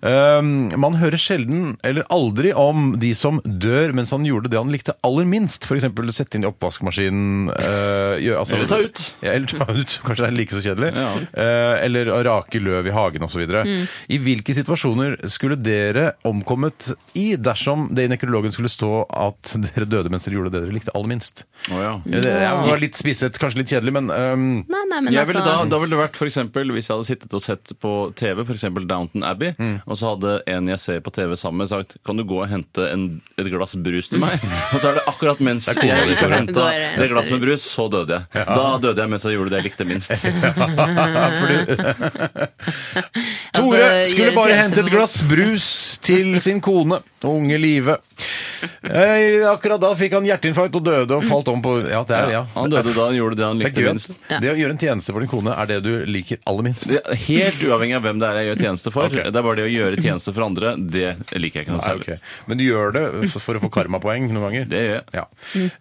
øhm, man hører sjelden eller aldri om de som dør mens han gjorde det han likte aller minst. F.eks. sette inn i oppvaskmaskinen. øh, gjør- altså-
Eller ta ut.
Ja, eller ta ut. Kanskje det er like så kjedelig.
Ja.
Eh, eller å rake løv i hagen osv. videre
Mm.
I hvilke situasjoner skulle dere omkommet i dersom det i nekrologen skulle stå at dere døde mens dere gjorde det dere likte aller minst?
Å, ja.
Ja, Det jeg var litt spisset, kanskje litt kjedelig, men um, [LAUGHS] øhm,
Nei, nei, men
Jeg ville
altså,
da, da ville det vært for eksempel, Hvis jeg hadde sittet og sett på TV, f.eks. Downton Abbey, og så hadde en jeg ser på TV sammen med, sagt 'Kan du gå og hente en, et glass brus til meg?' [LAUGHS] Og så er Mm. det akkurat mens
Det er kona
jeg
di,
gikk og
Tore.
henta
Går og
det glasset med brus, så døde jeg. [LAUGHS] Da døde jeg mens jeg gjorde det jeg likte minst.
fordi, Tore
Altså,
skulle
gjøre
bare
tjeneste
hente et
for-
glass brus til sin kone, unge Live. Eh, Akkurat da fikk han hjerteinfarkt og døde og falt om på Ja, det er ja.
Han døde da han gjorde det han
Det er
likte
gøy.
minst.
at Det å gjøre en tjeneste for din kone er det du liker aller minst.
Det er Helt uavhengig av hvem det er jeg gjør tjeneste for.
Ok.
Det er bare det å gjøre tjeneste for andre, det liker jeg ikke noe
Nei,
særlig.
ok. Men du gjør det f- for å få karmapoeng noen ganger?
Det gjør jeg.
Ja.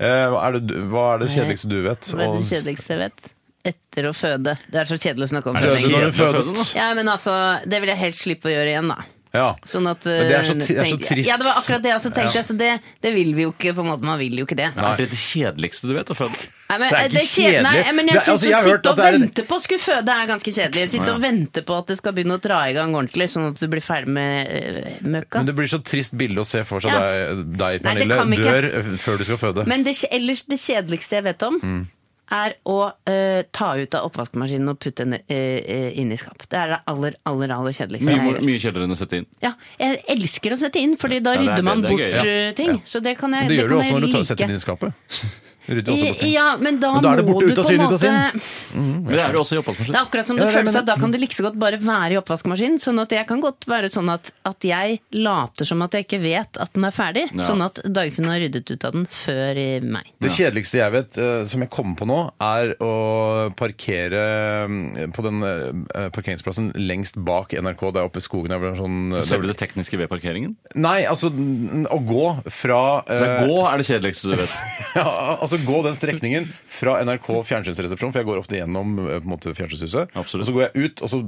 Eh, hva er det, du- hva er det kjedeligste du vet?
Hva er det
Og-
kjedeligste jeg vet? Etter å føde. Det er så kjedelig å snakke om.
Er det
føding.
kjedelig når du
Kjedelig å føde,
fødet?
Ja, men altså, det vil jeg helst slippe å gjøre igjen, da.
Ja.
Sånn at,
Men det er så
eh,
ti- det er så
tenk-
trist.
Ja, det var akkurat det jeg også tenkte. Så det, det vil vi jo ikke. på en måte, Man vil jo ikke det.
Er det det kjedeligste du vet å føde?
Nei, men, eh,
Det er ikke
kje- Nei,
kjedelig.
men
Det er-
jeg syns
altså, jeg har
å
hørt
sitte
at
og
det er en-
vente på å skulle føde er ganske kjedelig. Sitte og vente på at det skal begynne å dra i gang ordentlig, sånn at du blir ferdig med eh, møkka.
Men det blir så trist bilde å se for seg
Ja.
deg, deg,
Nei, det
Pernille,
kan vi
dør
ikke.
eh, før du skal føde.
Men det, ellers det kjedeligste jeg vet om,
Mm.
er å eh, ta ut av oppvaskmaskinen og putte den uh, inn i skap. Det er det aller, aller, aller kjedeligste.
Mye,
jeg gjør.
mye kjedeligere enn å sette inn.
Ja, jeg elsker å sette inn, fordi da
Ja, det er
rydder man
det, det er
bort
gøy, ja.
eh, ting. Så det kan jeg,
Men det gjør du
kan
også
jeg
når du tar,
like.
setter den i skapet. [LAUGHS] Du rydder også bort den.
Ja, men da,
Men da er det
må
borte,
du
ute av
på en
syn, ute av
måte
Men det er jo også i
Det
oppvaskmaskinen.
er akkurat som
Ja,
det
det er det jeg
føles at
mener.
da kan du like så godt bare være i oppvaskmaskinen. Sånn at jeg kan godt være sånn at, at jeg later som at jeg ikke vet at den er ferdig.
Ja.
Sånn at Dagfinn har ryddet ut av den før eh, meg.
Det kjedeligste jeg vet, eh, som jeg kommer på nå, er å parkere eh, på den eh, parkeringsplassen lengst bak NRK, der oppe i skogen. Der, hvor det er sånn, eh,
Ser du det tekniske ved parkeringen?
Nei, altså n- å gå fra
Så
eh,
Gå er det kjedeligste du vet.
[LAUGHS] ja, altså gå den strekningen fra NRK fjernsynsresepsjon, for jeg går ofte gjennom eh, på en måte, fjernsynshuset.
Absolutt.
Og så går jeg ut, og så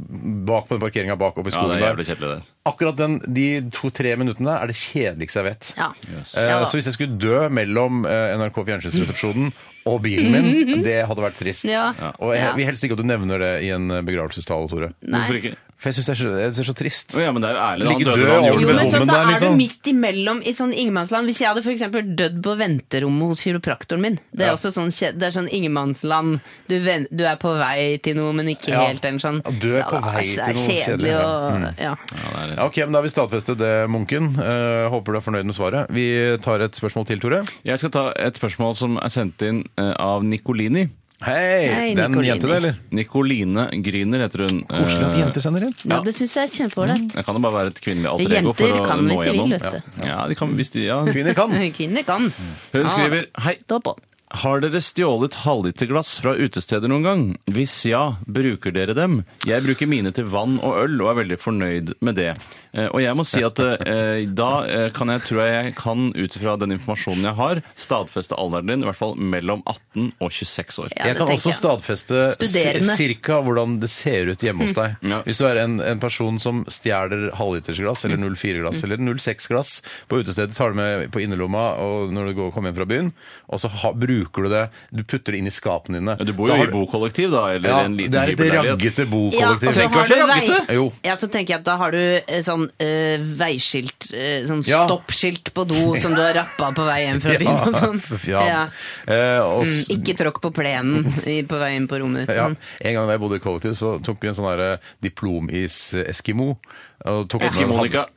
bak på den parkeringa bak oppe i
Ja, det
skogen
er jævlig
der.
kjedelig der.
Akkurat den, de to-tre minuttene der er det kjedeligste jeg vet.
Ja.
Eh,
Ja da.
Så hvis jeg skulle dø mellom eh, NRK
[LAUGHS]
fjernsynsresepsjonen og bilen min, det hadde vært trist.
Ja.
Og jeg
Ja.
vil helst ikke at du nevner det i en eh, begravelsestale, Tore.
Hvorfor ikke?
For jeg syns det, er så- jeg synes det er så trist.
Å, Ja, men det er jo ærlig. Han
Ligge
døde
død
da han
over
Jo,
gjorde
men
det.
bommen
så Da
der,
er
liksom.
du midt imellom i sånn ingenmannsland. Hvis jeg hadde f.eks. dødd på venterommet hos kiropraktoren min Det er
Ja.
også sånn, kje- det er sånn ingenmannsland. Du, ven- du er på vei til noe, men ikke
Ja.
helt. En sånn,
Ja, du er på
da,
vei
altså,
til noe
det er
kjedelig,
kjedelig.
ja. Mm.
Og, ja.
Ja, ok, men Da har vi stadfestet det, Munken. Eh, håper du er fornøyd med svaret. Vi tar et spørsmål til, Tore.
Jeg skal ta et spørsmål som er sendt inn eh, av Nicolini.
Hei!
Hei,
det er en
Nicolini.
jente, det, eller?
Nicoline Gryner heter hun.
Koselig at
Eh,
jenter sender inn.
ja, det syns jeg er kjempeålreit.
Det kan jo bare være et kvinnelig alter ego for
Jenter
å
kan
nå
hvis de vil,
igjennom.
vet du. Ah.
Ja, de kan hvis de ja.
Kvinner kan.
Kvinner kan.
Hun skriver Hei,
Stå på.
har dere stjålet halvliterglass fra utesteder noen gang? Hvis ja, bruker dere dem? Jeg bruker mine til vann og øl og er veldig fornøyd med det. Eh, Og jeg må si at eh, da eh, kan jeg, tror jeg jeg kan, ut fra den informasjonen jeg har, stadfeste alderen din, i hvert fall mellom 18 og 26 år.
Ja,
jeg
det
kan
tenker
også
jeg.
stadfeste
Studerende.
si- cirka hvordan det ser ut hjemme hos deg.
Mm. Ja.
Hvis du er en, en person som stjeler halvlitersglass
Mm.
eller 04-glass eller 06-glass på utestedet, tar du med på innerlomma og når du går, kommer hjem fra byen, og så ha, bruker du det Du putter det inn i skapene dine.
Du bor
Da
jo
har
i bokollektiv, da, eller
Ja,
en
det
liten
er et
hybelleilighet.
raggete
Ja,
bokollektiv.
altså,
Tenk å
har
se
du
raggete.
vei-
Jo.
Ja, så tenker jeg at da har du eh, sånn eh, veiskilt, eh, sånn
Ja.
stoppskilt på do som du har rappa på vei
[LAUGHS]
hjem [LAUGHS] fra byen og sånn.
ja.
Ja. Mm,
Eh, og s-
Ikke tråkk på plenen i- på vei inn på rommet ditt.
Ja,
Sånn.
en gang da jeg bodde i kollektiv, så tok vi en sånn derre diplomis-eskimo. og tok- sånn-
Eskimonika.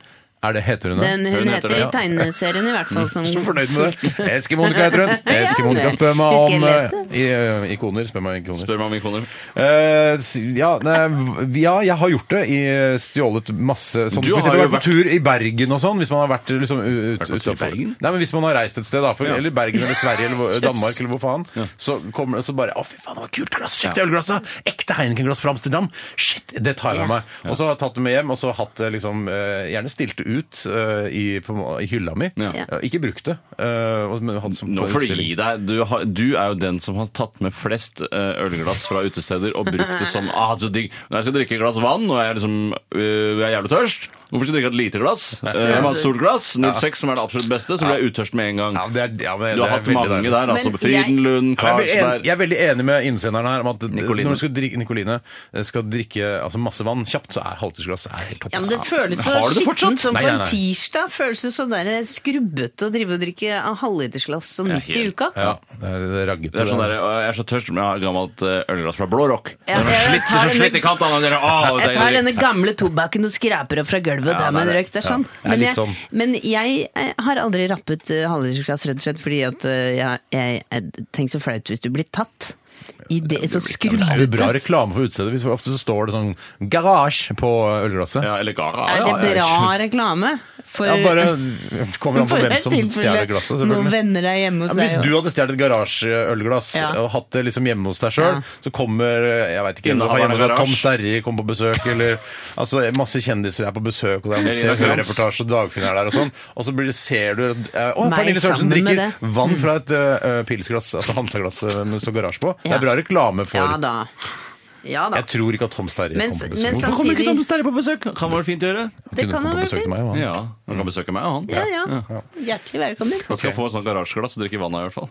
Er det heter hun det?
Den, hun,
Hun heter
heter
det,
i
ja.
tegneserien i hvert [LAUGHS] fall. Som,
Så fornøyd med det. Eske-Monica heter hun. Eske-Monica
sånn Ja,
spør meg
husker jeg
om
leste.
eh, i- eh, ikoner. Spør meg om ikoner.
Spør meg om ikoner.
Eh, s- ja, nei, ja, jeg har gjort det. I eh, stjålet masse sånn,
Du
For eksempel
har jo
vært på tur i Bergen og sånn. Hvis man har vært liksom, u-
Vært
ut,
på tur i
utenfor.
Bergen?
Nei, men hvis man har reist et sted, da. For, Eller Bergen eller Sverige
[LAUGHS]
eller hvor- Danmark eller hvor faen.
Ja.
Så kommer det så bare Å, fy faen, det var kult glass! Sjekk det ølglasset! Ekte Heineken-glass fra Amsterdam! Shit, det tar jeg med meg. Og så har jeg tatt det med hjem, og så hatt det liksom eh, Gjerne stilt det ut eh, i, på, må- i hylla mi.
Ja.
Eh, Ikke brukt det. eh, og- men hatt som
Nå
på
får du
utstilling.
gi deg. Du, har, du er jo den som har tatt med flest eh, ølglass fra utesteder og brukt det som ah, så digg. Når jeg skal drikke et glass vann og jeg er, liksom, øh, jeg er jævlig tørst, hvorfor skal jeg drikke et lite glass?
[LAUGHS]
Eh, jeg må ha et stort glass. 06, som er det absolutt beste, så blir jeg uttørst med en gang.
Ja, det er, ja, men,
Du har
det er
hatt
veldig
mange
deilig.
der, altså.
Men jeg-
Frydenlund,
Ja, men Jeg er, veldig enig,
Karlsberg
jeg er veldig enig med innsenderen her om at
Nicoline.
når du skal drikke Nicoline, eh, skal drikke altså, masse vann kjapt, så er halvlitersglass er helt topp.
ja, men
altså.
det føles så
Har du det fortsatt?
skittent som
Nei,
på
nei, nei.
en tirsdag. Føles det så der skrubbete å drive og drikke av halvlitersglass som midt i
helt-
uka.
Ja, det er det er raggete.
Det er sånn der, «Å, Jeg er så tørst, men jeg har et gammelt eh, ølglass fra Blå Rock.
Ja,
det er så
jeg
slitt,
tar
så slitt i kantene. og dere, «Å, det er
Jeg tar
deilig».
denne gamle tobakken og skraper opp fra gulvet.
Ja,
der med
det
en
er det.
røyk, det er sånn.
Ja, det er
men,
litt
jeg,
sånn.
men jeg eh, har aldri rappet eh, halvlitersglass, rett og slett fordi at eh, jeg, jeg, jeg tenker så flaut hvis du blir tatt. I det, så
Det er jo bra
skrubbete.
reklame for utestedet. hvis Ofte så står det sånn 'garasje' på ølglasset.
Ja, eller gara.
Er det bra reklame? For,
Ja,
[LAUGHS]
bare kommer an på
for
hvem
et
som
tilfelle
stjeler glasset.
Noen
selvfølgelig.
venner er hjemme
Ja,
hos
men hvis
deg.
du hadde stjålet et garasjeølglass
Ja.
og hatt det liksom hjemme hos deg sjøl,
Ja.
så kommer jeg vet ikke,
Innehaveren
har hjemme hos deg,
av
Tom
garasje.
Sterri kommer på besøk, eller altså, masse kjendiser er på besøk, og det er masse
Elina Kranz.
hørereportasje, og Dagfinn er der og sånn, og så blir det, ser du at, eh, Å,
Meg
Pernille Sørensen
sammen med
drikker
det. Mm.
vann fra et eh, pilsglass, altså Hansa-glass eh, med det står garasje på. Det
Ja.
er bra reklame for
Ja da. Ja da.
Jeg tror ikke at Tom Sterri
Men-
kommer på
men
besøk.
Hvorfor
Hvorfor
kommer ikke
Samtidig-
Tom Sterre på besøk? Kan være fint å gjøre.
kunne
kan
komme
han
på
vel
besøk til
bli.
meg, han?
Ja, Han kan besøke meg og han.
Ja, ja. Hjertelig velkommen.
Han skal få et sånt garasjeglass og drikke vann av i hvert fall.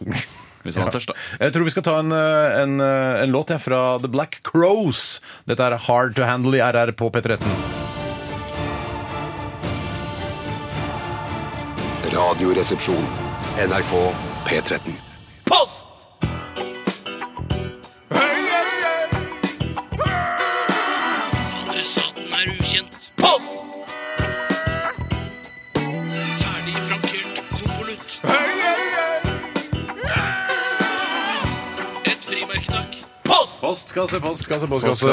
Hvis han er tørst, da.
Jeg tror vi skal ta en, eh, en, eh, en låt jeg, fra The Black Crows. Dette er Hard To Handle i RR på P13.
Radioresepsjon. NRK P13.
Postkasse,
Postkasse,
postkasse,
postkasse.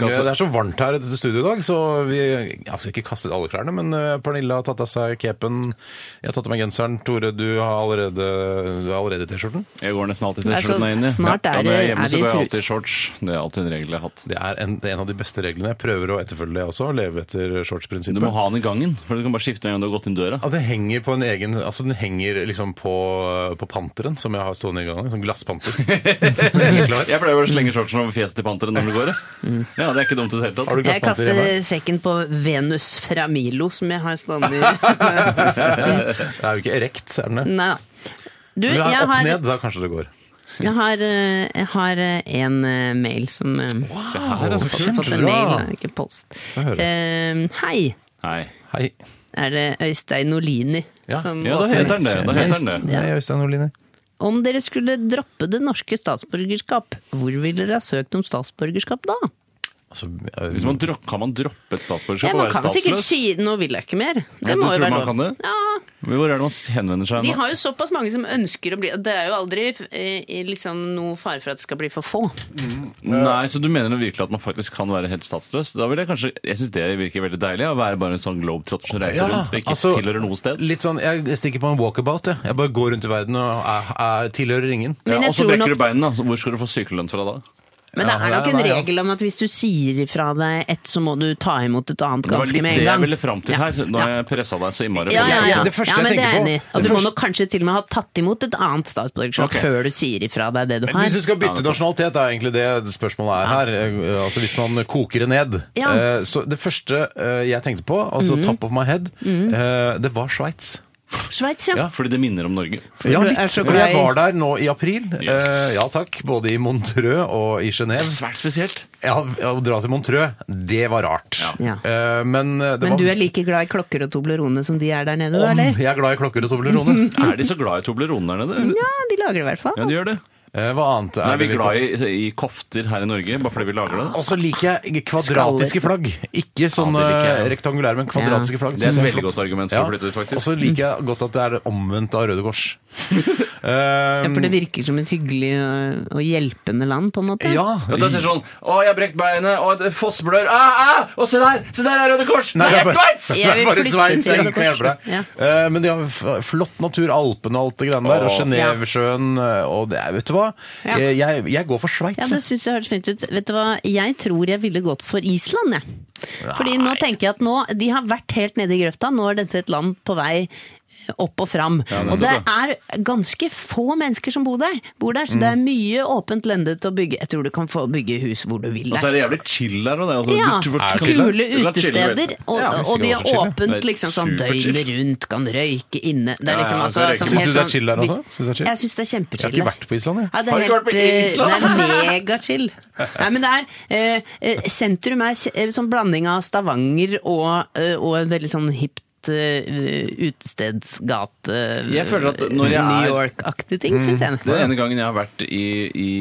Ja, Eh, Det er så varmt her i dette studioet i dag, så vi jeg skal ikke kaste alle klærne. Men eh, Pernille har tatt av seg capen, jeg har tatt av meg genseren. Tore, du har allerede du har allerede T-skjorten.
Jeg går nesten alltid
Det er så-
T-skjorten inn i.
snart
ja,
er
når jeg er
det-
hjemme,
er
så
vi
går jeg
tru-
alltid i shorts. Det er alltid en regel jeg har hatt.
Det er en, det er en av de beste reglene. Jeg prøver å etterfølge det også, og leve etter
Du må
shortsprinsippet.
ha den i gangen, for du kan bare skifte med en gang du har gått inn døra.
Ja, det henger på en egen Altså, den henger liksom på, på panteren som jeg har stående i gangen. Sånn
[LAUGHS]
glasspanter. Er du klar?
Jeg pleier bare å
Mm.
slenge shortsen over fjeset til panteren når det går. jeg. Ja, det er ikke dumt i det hele tatt.
Har du
Jeg
glasspanter hjemme?
kaster sekken på Venus fra Milo, som jeg har stående i.
Det er jo ikke erekt, er den det?
Nei da. Du,
Men
Mm, jeg
jeg opp
har,
ned, da kanskje det går.
jeg har, eh, jeg har eh, en eh, mail som eh,
Se her,
jeg har fått en mail, da, ikke post.
Få høre.
Eh, hei,
Nei.
Hei.
er det Øystein Olini
Ja.
som
Ja, da
åpner
heter den det. Da heter den det.
Ja.
Hei, Øystein Oline.
Om dere skulle droppe det norske statsborgerskap, hvor ville dere ha søkt om statsborgerskap da?
Altså,
Hvis man dro- kan man droppe et statsborgerskap
Ja,
og
man
være
kan sikkert
statsløs?
si 'nå vil jeg ikke mer'.
Ja,
Det
du
må jo
tror
være
man
lov.
kan det?
Ja,
Hvor er det man henvender seg
De
nå?
har jo såpass mange som ønsker å bli Det er jo aldri eh, liksom noe fare for at det skal bli for få.
Eh,
Nei, så du mener virkelig at man faktisk kan være helt statsløs? Da vil Jeg kanskje, jeg syns det virker veldig deilig, å være bare en sånn globetrotter som reiser rundt og ikke
altså-
tilhører noe sted.
Litt sånn, Jeg stikker på en walkabout. Jeg, jeg bare går rundt i verden og er, er, tilhører ingen.
Ja,
Men jeg
og så
tror
brekker
nok-
du beina, så hvor skal du få sykelønn fra da?
Men det
Ja,
er nok
ja,
en
ja, ja.
regel om at hvis du sier ifra deg ett, så må du ta imot et annet
Det var
ganske
litt
med
det jeg
en gang.
ville fram til her. Nå har jeg pressa deg så innmari.
Ja, ja, ja.
Det første
ja,
jeg
men det
tenker
er
på-
enig. i. Og
det
du må
første-
nok kanskje til og med ha tatt imot et annet statsborgerskap
Ok.
før du sier ifra deg det du
Hvis du
har.
skal bytte nasjonalitet, er egentlig det spørsmålet er her. Eh, Altså Hvis man koker det ned.
Ja. Mhm.
Eh, Så det første eh, jeg tenkte på, altså top of my head, eh, det var Sveits.
Sveits, ja.
Ja.
Fordi det minner om Norge.
Ja,
du
litt.
er så
Og
glad
Jeg
i-
var der nå i april.
Yes.
Eh, Ja takk. Både i Montreux og i Genéve.
Svært spesielt.
Ja, å dra til Montreux, det var rart.
Ja.
Eh, men det
Men
var
du er like glad i klokker og Toblerone som de er der nede, du, eller?
Jeg er glad i klokker
[LAUGHS]
og Toblerone.
Er de så glad i Toblerone der nede? eller?
Ja, de lager det i hvert fall.
Ja, de gjør det.
Eh, hva annet
Nei,
er
vi er
det
glad i, i kofter her i Norge, bare fordi vi lager det.
Og så liker jeg kvadratiske flagg. Ikke sånne
Ja, det liker jeg.
rektangulære, men kvadratiske flagg.
Det er et
Synes jeg
veldig godt argument for å flytte dit, faktisk.
Og så liker jeg godt at det er det omvendte av Røde Kors.
[LAUGHS] Ja, for det
Eh,
virker som et hyggelig og- og hjelpende land, på en måte.
ja.
Ja, da sier sånn Å, jeg har brekt beinet, og det fossblør ah, ah, Og se der! Se der er Røde Kors!
Nei, det er bare [LAUGHS]
Sveits!
det er
vil
bare
flytte
Sveits.
til
Jeg
Røde
kan hjelpe deg.
Kors.
Eh, Men de har f- flott natur, Alpene og alt det greiene der. Og
Åh.
Genévesjøen og det er Vet du hva?
Ja.
Eh, Jeg, jeg går for
Ja, sånn
Sveits.
det syns jeg høres fint ut. Vet du hva, jeg tror jeg ville gått for Island, jeg. Fordi nå tenker jeg at nå, de har vært helt nede i grøfta, nå er dette et land på vei eh, opp og fram. og det er ganske få mennesker som bor der, bor der så det er mye åpent lende til å bygge. Jeg tror du kan få bygge hus hvor du vil
Og så
der.
er det jævlig chill her. og det er Altså,
Ja,
du- du- du-
kule
du kan chille,
utesteder,
vet du.
og,
Ja, hvis
og de
det
har
går for chill, ja.
Det
åpent
er
liksom sånn
superchill.
døgnet rundt, kan røyke inne. Det er
Ja,
liksom
ja,
altså
røyke.
sånn
Syns du
helt
det er
sånn-
chill der også? Syns du det er chill?
Jeg syns det er kjempechill.
Jeg har ikke
der.
vært på Island, jeg.
Ja, det
Har
er
du ikke
helt,
vært på
[LAUGHS]
Island?
eh, Det er megachill. Nei, men det er eh, eh, Sentrum er kje- eh, sånn blanding av Stavanger og, eh, og en veldig sånn hipt litt uh, utestedsgate,
Jeg føler at når jeg er- Mm,
New York-aktig ting, syns jeg.
Den ene gangen jeg har vært i, i,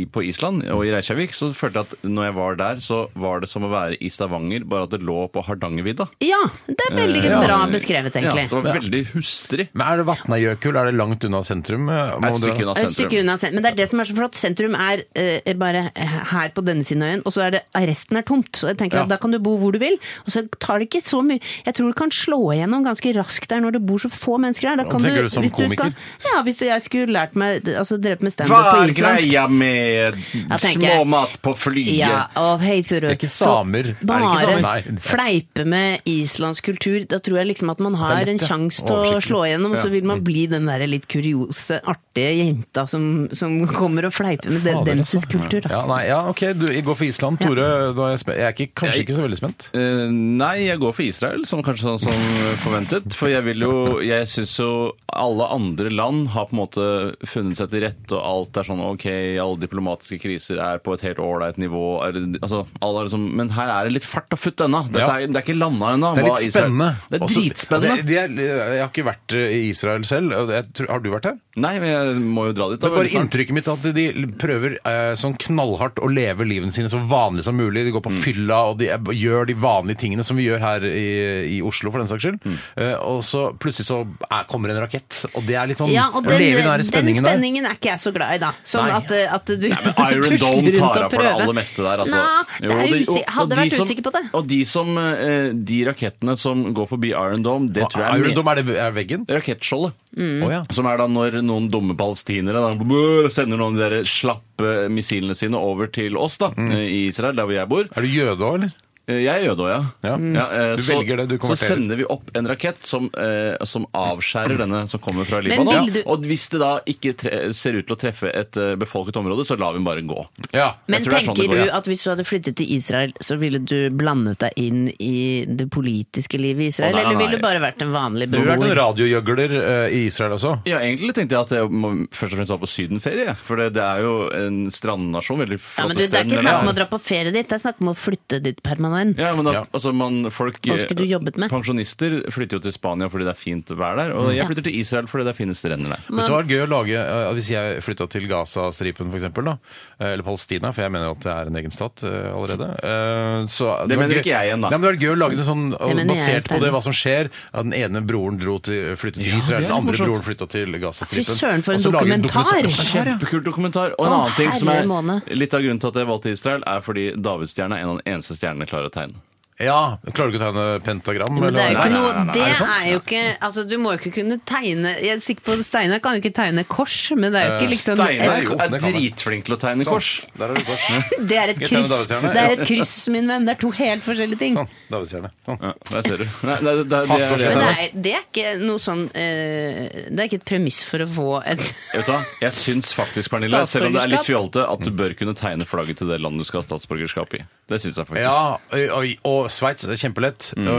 i, på Island og i Reykjavik, så følte jeg at når jeg var der, så var det som å være i Stavanger, bare at det lå på Hardangervidda.
Ja, det er veldig
Eh,
bra
ja.
beskrevet,
Ja, det
egentlig.
var veldig hustrig.
Men er det Vatnajökull? Er det langt unna sentrum? Eh,
Det er Et stykke unna
Et stykke
sentrum.
unna sentrum. Men det er det som er så flott. Sentrum er eh, bare her på denne siden av øyen, og så er det resten er tomt. Så jeg tenker
Ja.
at da kan du bo hvor du vil, og så tar det ikke så mye Jeg tror du kan slå igjennom ganske raskt der når det bor så få mennesker der. Da
Ja,
kan
tenker du som
hvis
komiker?
skal, ja, hvis jeg skulle lært meg altså drevet med standup på islandsk
med
Da tenker jeg-
på flyet?
ja, og hei, Tore.
Det er ikke samer. Er det
Så
ikke
bare
samer? Nei.
fleipe med islandsk kultur. Da tror jeg liksom at man har
lett,
en
ja.
sjanse til å
Oversiktlig.
slå igjennom, og
Ja.
så vil man bli den der litt kuriose, artige jenta som, som kommer og fleiper med den,
Fader,
denses
altså.
kultur. Da.
Ja, nei, ja, ok, du går for Island. Tore, da er jeg, spe- jeg er ikke, kanskje
Jeg-
ikke så veldig spent.
Eh, nei, jeg går for Israel, som kanskje sånn som forventet. For jeg vil jo Jeg syns jo alle andre land har på en måte funnet seg til rette, og alt er sånn OK, alle diplomatiske kriser er på et helt ålreit nivå. Er, det- altså, alle er liksom, men her er det litt fart og futt ennå. Dette
Ja.
er- Det er ikke landa ennå.
Det er
hva
litt
Israel-
spennende.
Det er
Også-
dritspennende.
Det- det er- jeg har ikke vært eh, i Israel selv. og Jeg tror, har du vært der?
Nei, men jeg må jo dra dit. da,
Det er bare
veldig snart.
inntrykket mitt at de prøver eh, sånn knallhardt å leve livene sine så vanlig som mulig. De går
Mm.
på fylla og de er, gjør de vanlige tingene som vi gjør her i, i Oslo, for den saks
Mm.
skyld. Eh, og så plutselig så er, kommer en rakett, og det er litt sånn
Ja, og den,
Lever den her spenningen
den
der?
spenningen er ikke jeg så glad i, da. Sånn
Nei.
at, at du
Nei, men [LAUGHS] Iron
[LAUGHS] tusler
Dome
rundt
tar
og
av for det
prøver.
aller meste der. Altså.
Nei, det
Jo,
er
de-
usikker- hadde
de
vært
som-
usikker på det.
Og de, som, eh, de rakettene som går forbi Iron Dome, det tror jeg er Mm.
Iron
med-
Dome, er det er veggen?
Rakettskjoldet.
Mm.
Å, ja.
Som er da når noen dumme palestinere da, bø, sender noen av de der slappe missilene sine over til oss da,
Mm.
eh, i Israel, der hvor jeg bor.
Er du jøde òg, eller?
Eh, Jeg er jøde òg, ja.
Ja. Mm.
eh,
Du
så,
velger det, du
så
konverterer.
sender vi opp en rakett som, eh, som avskjærer denne som kommer fra Libanon.
vil du-
Og hvis det da ikke tre ser ut til å treffe et eh, befolket område, så lar vi den bare gå.
Ja.
Men
tror det er sånn
tenker
det går,
du
ja.
at hvis du hadde flyttet til Israel, så ville du blandet deg inn i det politiske livet i Israel,
Å, nei, nei,
eller
nei.
ville du bare vært en vanlig
Du har vært en
beboer?
radiojøgler eh, i Israel også?
Ja, egentlig tenkte jeg at jeg må først og fremst var på sydenferie. jeg. For det, det er jo en strandnasjon. Veldig
Ja,
flotte
men du, det er ikke
strender,
snakk om å
eller-
dra på ferie dit, det er snakk om å flytte dit permanent.
Ja, men at,
Ja.
altså man, folk, eh,
Hva skulle du jobbet med? Mm.
Pensjonister flytter jo til Spania fordi det er fint vær der. Og jeg flytter til Israel fordi det er fine strender der.
Vet du hva, det er gøy å lage, eh, Hvis jeg flytta til Gazastripen, f.eks., eh, eller Palestina, for jeg mener at det er en egen stat eh, allerede eh, så
Det
var
mener
gøy-
ikke jeg igjen, da.
Nei, men Det var gøy å lage det sånn
mener
og
jeg,
basert på det,
Steiner.
hva som skjer. At den ene broren dro til, flyttet til
Ja,
Israel,
det er
den andre
morsomt.
broren flytta til Gazastripen.
Fy søren, for en
Og så lage
dokumentar!
Ja, ja.
Kjempekult dokumentar. Og en
Å,
annen ting som er
herre måne.
litt av grunnen til at jeg valgte Israel, er fordi davidsstjerna er en av de eneste stjernene jeg klarer å tegne.
Ja, Klarer du ikke å tegne pentagram?
Men det er jo
hva?
Nei,
ikke
nei,
noe,
nei, nei,
det
er det sant?
er jo ikke Altså, du må jo ikke kunne tegne Jeg er sikker på at Steinar kan jo ikke tegne kors, men det er jo ikke liksom
Eh, Steinar
jo,
er
det kan jeg. Sånn.
dritflink til å tegne kors.
Der er du kors.
Det er et
Jeg tegner
kryss,
davidsstjerne,
det er
ja.
et kryss, min venn. Det er to helt forskjellige ting.
Sånn. Davidsstjerne. Sånn.
Ja, der ser du. Nei, nei, det, det, det, det,
Men
det,
det er, det er ikke noe sånn eh, Det er ikke et premiss for å få et
Vet du hva? Jeg syns faktisk, Pernille, selv om det er litt
Statsborgerskap.
fjolte, at du bør kunne tegne flagget til det landet du skal ha statsborgerskap i. Det syns jeg faktisk.
Ja, og, og- og Sveits er kjempelett. Og,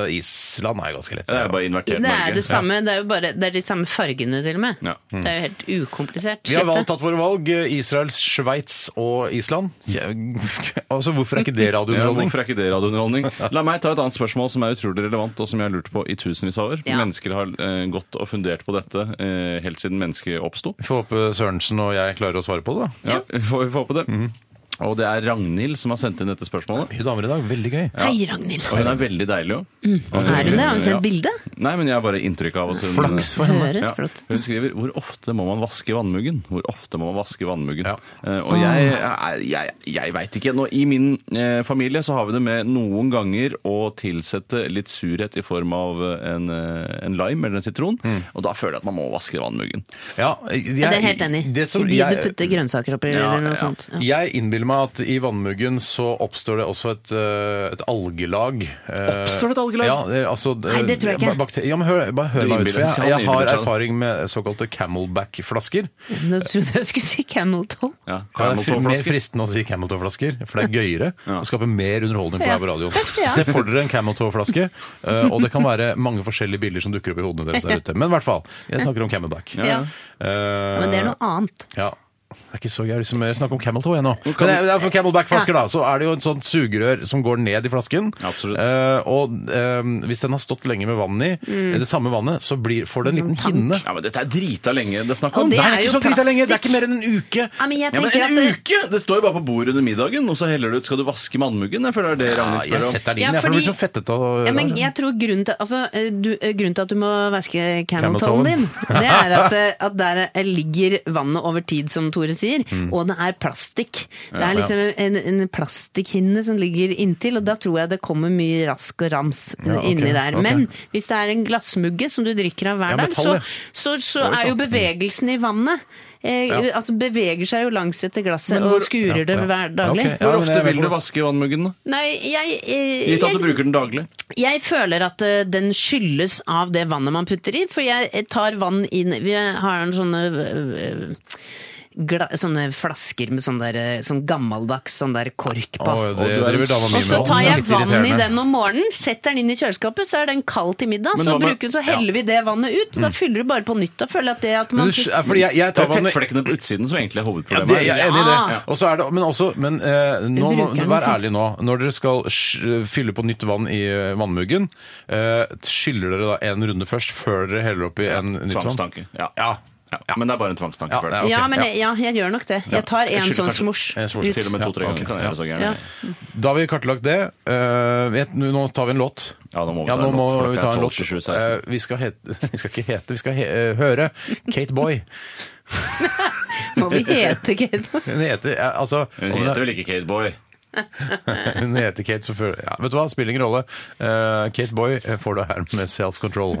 og Island er jo ganske lett.
Mm. Det er bare invertert
Det er
Norge.
det samme, det er jo bare det er de samme fargene til og med.
Ja.
Det er jo helt ukomplisert.
Vi har
skifte.
valgt, tatt våre valg. Israel, Sveits og Island. Ja, [LAUGHS] Altså, Hvorfor er ikke det
Ja,
radiounderholdning?
hvorfor er ikke det radiounderholdning? La meg ta et annet spørsmål som er utrolig relevant, og som jeg har lurt på i tusenvis av år.
Ja.
Mennesker har eh, gått og fundert på dette eh, helt siden mennesket oppsto.
Vi får håpe Sørensen og jeg klarer å svare på det. da.
Ja, vi får vi får håpe det. Og det er Ragnhild som har sendt inn dette spørsmålet.
Mye damer i dag. Veldig gøy.
Hei, Ragnhild. Mm.
Og hun er veldig deilig òg.
Er hun det? Har hun
Ja.
sett bilde?
Nei, men jeg har bare inntrykk av at hun
Flaks for henne.
Høres
Ja.
flott.
Hun skriver 'Hvor ofte må man vaske vannmuggen?' Hvor ofte må man vaske vannmuggen?
Ja.
Eh, og jeg, er- jeg, jeg veit ikke. Nå, I min eh, familie så har vi det med noen ganger å tilsette litt surhet i form av eh, en, eh, en lime eller en sitron.
Mm.
Og da føler jeg at man må vaske vannmuggen.
Ja, jeg,
Ja, det er helt enig.
det som
I de
jeg-
du putter grønnsaker oppi
Ja,
eller noe
ja.
sånt. Ja.
Jeg innbiller meg at i vannmuggen så oppstår det også et, eh, et algelag. Eh,
Oppstår det et algelag?
Ja, det, er altså,
Nei, det tror jeg ikke.
ba- bakte- ja, men hør, bare hør
Du
meg ut.
innbiller
For
seg, han
jeg, jeg har
innbiller seg.
erfaring med såkalte Camelback-flasker.
Nå trodde jeg du skulle si Camel Toe.
Ja,
Ja, Det er mer
Cameltoe-flasker.
fristende å si Camel Toe-flasker, for det er gøyere.
Ja.
Og skaper mer underholdning på her på radioen.
[LAUGHS] Ja.
Se for dere en Camel Toe-flaske, eh, og det kan være mange forskjellige bilder som dukker opp i hodene deres der ute. Men i hvert fall, jeg snakker om Camelback.
Ja.
Eh,
Men det er noe annet.
ja. Det er ikke så gøy. Liksom, Jeg har lyst til mer snakk om Camel Toe jeg nå. Men det er- det er for Camelback-flasker, da. Så er det jo et sånt sugerør som går ned i flasken.
Absolutt.
Eh, og eh, hvis den har stått lenge med vann i,
Mm.
det samme vannet, så blir, får det en liten kinne.
Ja, men Dette er drita lenge det er snakk om.
Og det
Nei,
er
det er
jo
ikke så drita lenge! Det er ikke
plastikk.
mer enn en uke.
Ja, men jeg
Ja, men
tenker
En
at det-
uke! Det står jo bare på bordet under middagen, og så heller du ut. Skal du vaske med andmuggen? Jeg føler det er det
Ja,
Ragnhild
jeg
spør om.
setter den
Ja,
inn, jeg, for det blir
fordi-
så fettete. og
Ja, men
rar.
jeg tror grunnen til, altså, eh, du, eh, grunnen til at du må væske
Cameltoen.
cameltoen din,
[LAUGHS]
det er at, eh, at der eh, ligger vannet over tid, som Tore sier,
Mm.
og det er plastikk. Det er liksom en, en plastikkhinne som ligger inntil, og da tror jeg det kommer mye rask og rams eh,
Ja, ok,
inni der.
ok.
Men hvis det er en glassmugge som du drikker av hver
Ja,
dag,
metall,
så,
ja.
så, så er jo bevegelsen i vannet eh, altså beveger seg jo langs etter glasset og skurer det hver daglig.
ok. Ja,
Hvor
men det
ofte
er
vil
veldig
du
bra.
vaske vannmuggen? da?
Nei, jeg, eh,
Gitt at
jeg
du bruker den daglig.
jeg føler at eh, den skyldes av det vannet man putter i, for jeg tar vann inn Vi har en sånne øh, øh, gla, Sånne flasker med sånn, der, øh, sånn gammeldags sånn der kork på.
Å,
Og du
det
er en
driver dama mi
og
med.
så
også.
tar
Det er
jeg
litt
vann i
irriterende.
den om morgenen, setter den inn i kjøleskapet, så er den kald til middag.
Men
Så,
hva med-
bruker, så heller vi det vannet ut, og da fyller du bare på nytt. Da føler jeg at det at
Men
man
det er- er fordi jeg, jeg
Det
tar
er
vann med-
fettflekkene på utsiden som egentlig er
Ja,
hovedproblemet.
det, jeg er enig i det.
Ja.
Og så er det men også, men eh, nå, må-
Brukeren.
vær ærlig nå. Når dere skal sj- fylle på nytt vann i eh, vannmuggen, eh, skyller dere da en runde først før dere heller oppi en nytt vann?
Tvangstanke. Ja.
Ja.
Ja. Men det er bare en tvangstanke.
Ja,
for
det
deg.
er ok,
ja, men
ja.
jeg, ja, jeg gjør nok det. Jeg tar en
Jeg skylder
sånn
kanskje-
smosj
en smosj
ut.
Til og med
Ja,
to-tre
ok,
ganger kan jeg
ja.
gjøre så
Ja.
gærent.
Da har vi kartlagt det. Eh, vet- nå nå tar vi en låt.
Ja, nå må vi
Ja,
ta
nå
en låt,
må
for
vi
klokka
ta
er
en
12,
låt.
27, 16.
Eh, vi, skal hete, [LAUGHS] vi skal ikke hete, vi skal he eh, høre Kate Boy.
Må vi hete Kate?
Hun heter eh, altså
Hun
om det-
heter vel ikke Kate Boy?
Hun heter Kate, så føler ja, Vet du hva, spiller ingen rolle. Eh, Kate Boy eh, får du her med Self Control.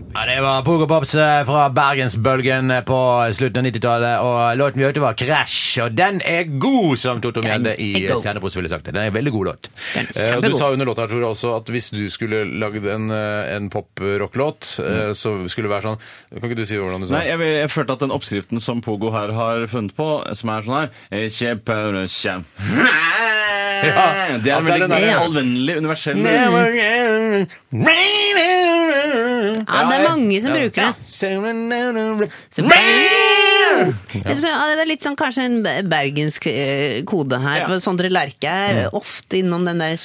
Ja, Det var Pogo Pops eh, fra Bergensbølgen eh, på slutten av 90-tallet. Og låten vi hørte, var Crash. Og den er god, som Toto Mjelde i
er god.
Stjernepros ville sagt. det. Den er en veldig god låt.
Eh, og du sa under låta her, Tore, også at hvis du skulle lagd en, eh, en pop-rock-låt, eh, så skulle det være sånn Kan ikke du si hvordan du sa
Nei, jeg, vil- jeg følte at den oppskriften som Pogo her har funnet på, som er sånn her eh, Kjeppaure, [LAUGHS] kjem.
Ja,
Det er
at
en
det er den
veldig
der-
allvennlig, universell
Ja, det er mange som bruker det. Så Jeg synes, ja, Det er litt sånn kanskje en be- bergensk eh, kode her.
Ja.
for Sondre Lerche
Mm.
er eh, ofte innom den der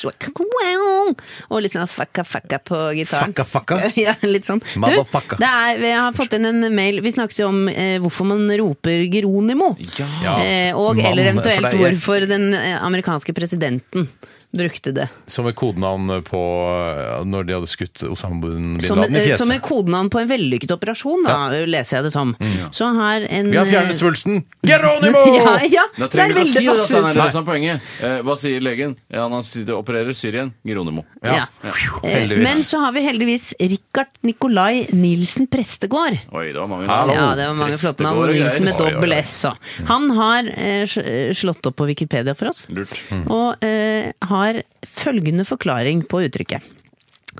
Og litt sånn fucka fucka på gitaren.
Fucka, fucka.
[LAUGHS] Ja, litt sånn. Du,
Motherfucka.
det er, vi har fått inn en mail. Vi snakket jo om eh, hvorfor man roper Geronimo.
Ja.
Eh, og
Mann,
eller
for
eventuelt
det er-
hvorfor den eh, amerikanske presidenten brukte det.
Som et kodenavn på eh, når de hadde skutt Osama bin
Som,
Laden i
eh, som et
fjeset.
kodenavn på en vellykket operasjon, da, leser jeg det som. Så har en
Mm.
eh,
Vi har fjernet svulsten! Geronimo!
[LAUGHS] Ja, ja,
Da
det er
trenger du ikke å si
veldig
det, da, Steinar.
passivt.
Det er sånn poenget. Eh, hva sier legen? Ja, han sitter og opererer Syrien. Geronimo.
Ja. Eh,
Heldigvis.
Men så har vi heldigvis Richard Nikolai Nilsen Prestegård.
Oi, det var mange
Hallo.
navn.
Ja, det var mange flotte navn.
Prestegård og
Nilsen med
greier.
Oi, oi, oi.
dobbel S. så. Han har eh, sl- eh, slått opp på Wikipedia for oss,
Lurt.
og eh, har følgende forklaring på uttrykket.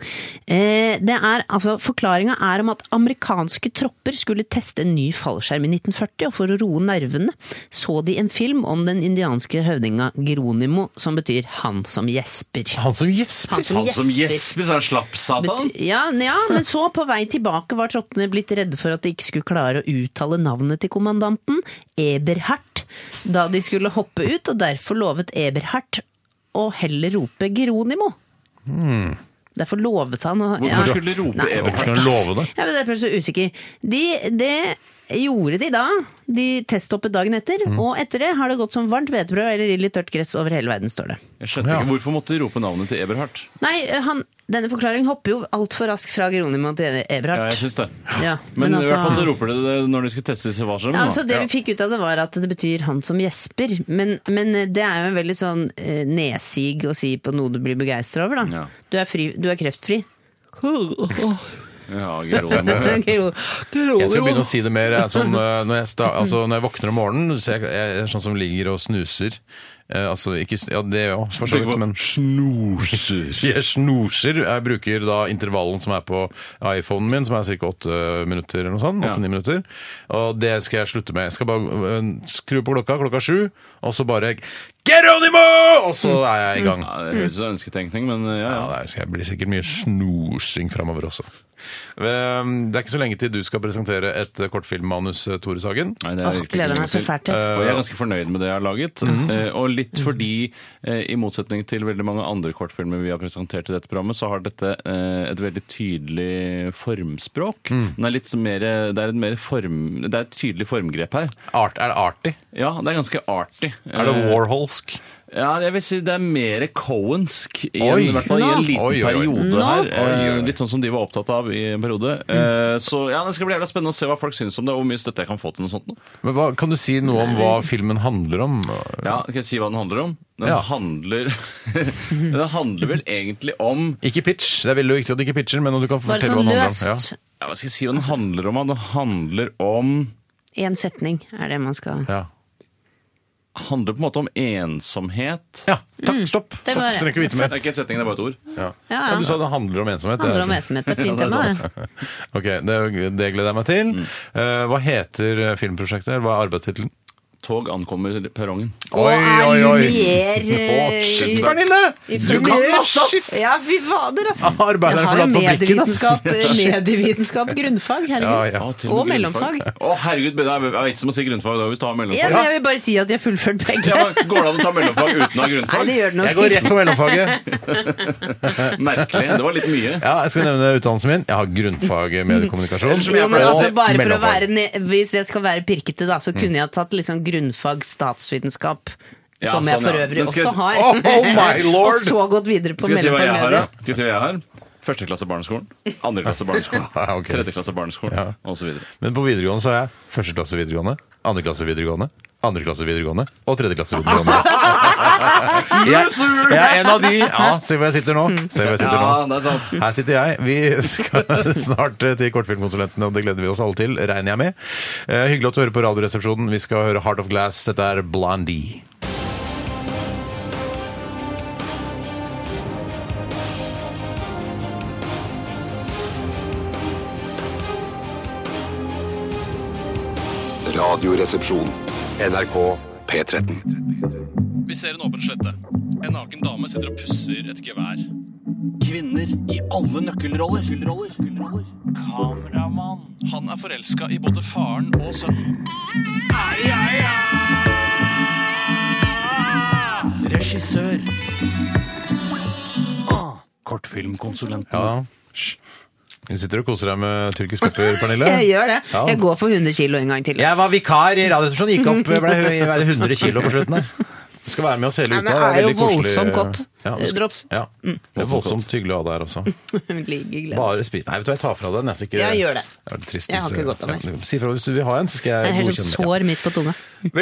Eh, det er, altså, Forklaringa er om at amerikanske tropper skulle teste en ny fallskjerm i 1940, og for å roe nervene så de en film om den indianske høvdinga Geronimo, som betyr 'han som gjesper'.
Han som gjesper!
Han som gjesper, så er han slapp, satan.
Bety- Ja, n- ja, men så på vei tilbake var troppene blitt redde for at de ikke skulle klare å uttale navnet til kommandanten, Eberhardt, da de skulle hoppe ut, og derfor lovet Eberhardt å heller rope Geronimo. Derfor lovet han å
Hmm. Hvorfor skulle de rope
Nei,
Eberhardt?
Hvorfor skulle han love det?
Jeg vet, derfor er jeg så usikker. De, det gjorde de da. De testhoppet dagen etter,
Hmm.
og etter det har det gått som varmt hvetebrød eller ild i tørt gress over hele verden, står det.
Jeg skjønte ikke, Hvorfor måtte de rope navnet til Eberhardt?
Nei, han, denne forklaringen hopper jo altfor raskt fra Geronimo til
Ja,
Eberhardt.
jeg syns det.
Ja,
Men,
men
i hvert fall så
altså-
roper de det når de skulle teste disse varslene.
Ja,
da.
altså Det vi fikk ut av det, var at det betyr 'han som gjesper'. Men, men det er jo en veldig sånn eh, nedsig å si på noe du blir begeistra over, da.
Ja.
Du, er fri, du er kreftfri.
Ja, Geronimo.
Gero-
Jeg skal begynne
Geronimo.
å si det mer. Jeg, er sånn, eh, når, jeg sta, altså, når jeg våkner om morgenen, så jeg, jeg er sånn som ligger og snuser Eh, altså ikke s- Ja, det òg, for så
Tenk på
vidt, men
snoser.
[LAUGHS] jeg snoser. Jeg bruker da intervallen som er på iPhonen min, som er ca. åtte minutter eller noe sånt.
Ja.
Åtte-ni minutter. Og det skal jeg slutte med. Jeg skal bare øh, skru på klokka klokka sju, og så bare Geronimo! Og så er jeg i gang.
Ja, det høres ut som ønsketenkning, men eh, ja,
Ja,
ja.
det er- skal- blir sikkert mye snosing framover også. Ehm, Det er ikke så lenge til du skal presentere et eh, kortfilmmanus, eh, Tore Sagen.
Nei, det er
Åh,
virkelig
gleder
ikke
meg så
noe
fælt Mm. til.
Og jeg er ganske fornøyd med det jeg har laget. Eh, Og litt fordi, eh, i motsetning til veldig mange andre kortfilmer vi har presentert i dette programmet, så har dette eh, et veldig tydelig formspråk.
Mm.
Den er litt så mer, det, er et mer form, det er et tydelig formgrep her.
Art, er det artig?
Ja, det er ganske artig.
Er det
Eh,
Warholsk?
Ja, jeg vil si det er mer Cohensk i, en,
Oi.
i hvert fall i en
Nå.
liten
Oi, oi, oi.
periode
Nå. Mm.
her.
Oi, oi, oi.
Eh, Litt sånn som de var opptatt av i en periode. Eh, Så ja, det skal bli jævla spennende å se hva folk syns om det, og hvor mye støtte jeg kan få til noe sånt. nå.
Men hva, kan du si noe om hva filmen handler om?
Ja, Skal jeg si hva den handler om? Den
Ja.
handler [LAUGHS] Den handler vel egentlig om
Ikke pitch. Det er veldig viktig at du ikke pitcher, men du kan
Bare
fortelle hva
sånn
den handler om.
løst.
ja, Hva skal jeg si hva den handler om? da? Den handler om
Én setning er det man skal
Ja.
Handler på en måte om ensomhet.
Ja. Takk, stopp. stopp.
Mm, Det
Du
var det.
trenger ikke vite
Det
mer.
er ikke et setning, det er bare et ord.
Ja.
Ja, ja.
Ja, du sa det handler om ensomhet.
Det handler om ensomhet. Det er fint tema, det.
Ok, det, det gleder jeg meg til. Eh, hva heter eh, filmprosjektet? her? Hva er arbeidstittelen?
Tog ankommer perrongen.
Og er Lumière,
[LAUGHS] Å, shit,
eh,
Pernille!
i-
Du kan masse, ass!
Ja, fy fader, altså!
Arbeideren
Jeg har
forlatt
jo
fabrikken, ass.
medievitenskap, eh, medievitenskap grunnfag,
Ja,
herregud.
ja.
Å, til
Og
med
mellomfag.
grunnfag. Å, herregud, det er det er vits i å si grunnfag da, hvis du har
Ja,
mellomfag.
men jeg vil bare si at de har fullført begge.
Ja, men Går det an å ta mellomfag uten å ha
Nei,
grunnfag?
det gjør det nok
Jeg går rett på mellomfaget.
Merkelig. Det var litt mye.
Ja, jeg skal nevne utdannelsen min. Jeg har grunnfag i mediekommunikasjon.
Jo, men
og
altså bare for å
mellomfag.
være, ne- Hvis jeg skal være pirkete, da, så kunne jeg tatt liksom grunnfag statsvitenskap.
Mm. Ja,
som jeg
sånn,
for
ja.
øvrig
Men skal jeg-
også har.
Oh, my
[LAUGHS]
lord!
Og så gått videre på
Skal jeg si hva jeg har, da?
mellomformedier.
Skal jeg si hva jeg har? Første klasse barneskolen, andre klasse barneskolen,
Ja, [LAUGHS] ok.
tredje klasse barneskolen,
Ja.
og så videre.
Men på videregående så har jeg første klasse videregående, andre klasse videregående, andre klasse videregående og tredje
[LAUGHS]
klasse videregående. jeg, jeg er en av de. Ja, se hvor jeg sitter nå. Se hvor jeg sitter nå.
Ja, det er sant.
Her sitter jeg. Vi skal [LAUGHS] snart til Kortfilmkonsulentene, og det gleder vi oss alle til, regner jeg med. Eh, hyggelig at du hører på Radioresepsjonen. Vi skal høre Heart of Glass. Dette er Blondie.
Radioresepsjon.
NRK P13.
Vi ser en åpen slette. En naken dame sitter og pusser et gevær. Kvinner i alle nøkkelroller. Kameramann. Han er forelska i både faren og sønnen. Regissør. Kortfilmkonsulent.
Ja. Hysj. Du sitter og koser deg med tyrkisk pepper, Pernille.
Jeg gjør det.
Ja.
Jeg går for 100 kilo en gang til.
Jeg var vikar i Radioresepsjonen, gikk opp, ble hø- ble det 100 kilo på slutten der. Du skal være med oss hele
Nei,
uka.
men det er jo
veldig koselig.
voldsomt godt. eh,
du skal-
Drops. Mm.
Ja. Det er voldsomt hyggelig å ha deg her også.
Like glad.
Bare spis. Nei, vet du hva, jeg tar fra deg den. Jeg, skal ikke,
Ja, gjør det.
er litt trist,
Jeg har
hvis-
ikke godt av
Ja, Si fra hvis du vil ha en, så skal
Jeg
jeg
er helt sånn
godkjenne den.
sår midt på tunga.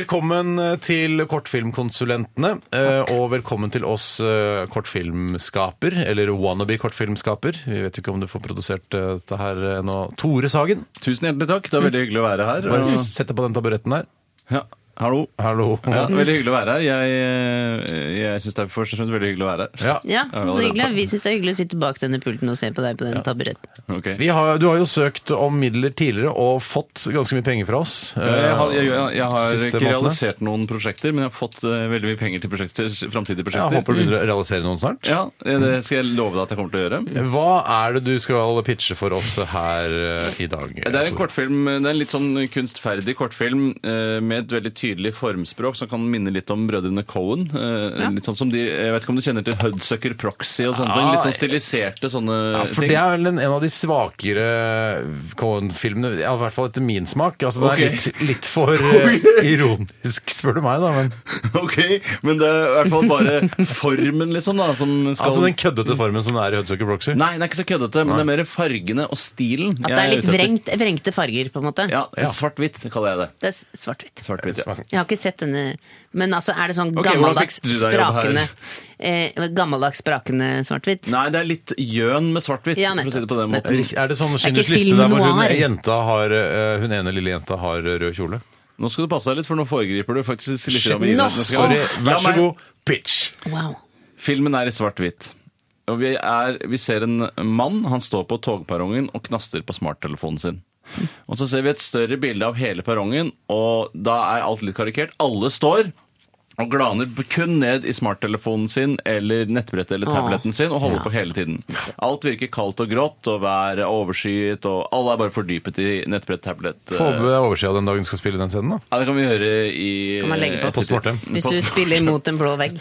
Velkommen eh, til Kortfilmkonsulentene, eh, og velkommen til oss eh, kortfilmskaper, eller wannabe-kortfilmskaper. Vi vet jo ikke om du får produsert eh, dette her eh, nå. Tore Sagen,
Tusen hjertelig takk. Det er veldig hyggelig å være her.
Mm.
bare
Og-
sett deg på den taburetten her.
Ja, hallo.
Hallo.
Ja, veldig hyggelig å være her. Jeg, eh, jeg syns det er først og fremst veldig hyggelig å være her.
Ja.
Ja,
Ja,
så
det er
hyggelig.
sant.
Vi syns det er hyggelig å sitte bak denne pulten og se på deg på den taburetten.
Ok.
Vi har, du har jo søkt om midler tidligere og fått ganske mye penger fra oss.
Eh,
Eh,
Jeg har, jeg, jeg, jeg har
Siste
ikke
månedene.
realisert noen prosjekter, men jeg har fått eh, veldig mye penger til prosjekter, framtidige
Jeg
prosjekter.
håper du realiserer noen snart.
Mm. Ja, eh, det skal jeg love deg at jeg kommer til å gjøre.
Hva er det du skal pitche for oss her eh, i dag?
Det er en
Tore?
kortfilm, det er en litt sånn kunstferdig kortfilm eh, med et veldig tydelig formspråk som kan minne litt om brødrene Cohen. Litt sånn som de, Jeg vet ikke om du kjenner til Hudsucker Proxy og sånne ting? Litt sånn stiliserte sånne
Ah, Ja, for
ting. [LAUGHS]
det er vel en, en av de svakere Cohen-filmene, ja, i hvert fall etter min smak. Altså, det
Ok.
er litt, litt
[LAUGHS]
for eh, ironisk, spør du meg, da. Men,
Ok, men det er i hvert fall bare formen, liksom, da, som skal
altså den køddete formen som det er i Hudsucker Proxy.
Nei, det er ikke så køddete, men det er mer fargene og stilen.
At
jeg
det er litt
ute etter.
vrengt, vrengte farger, på en måte.
Ja, Svart-hvitt kaller jeg det.
Det er s- svart-hvitt.
Svart-hvitt, ja.
Jeg har ikke sett denne Men altså, er det sånn
Ok, hvordan
gammeldags
fikk du deg jobb her?
sprakende eh, Gammeldags sprakende svart-hvitt?
Nei, det er litt gjøn med svart-hvitt,
Ja,
for å si det på den
nettopp.
måten.
Er det sånn
er ikke
Schindlers liste
film
der hvor hun,
noir.
jenta har, eh, hun ene lille jenta har rød kjole?
Nå skal du passe deg litt, for nå foregriper du faktisk litt
Shit,
av idretten.
nå, sorry. Vær så god, pitch!
Wow.
Filmen er i svart-hvitt. Og vi, er, vi ser en mann. Han står på togperrongen og knaster på smarttelefonen sin. Og så ser vi et større bilde av hele perrongen, og da er alt litt karikert. Alle står og glaner kun ned i smarttelefonen sin eller nettbrettet eller tabletten sin og holder på hele tiden. Alt virker kaldt og grått, og været er overskyet, og alle er bare fordypet i nettbrett, tablett
Få
eh,
opp oversida den dagen du skal spille den scenen, da.
Ja, det kan vi gjøre i
Kan man legge på?
Postmortem.
Hvis du spiller mot en blå vegg.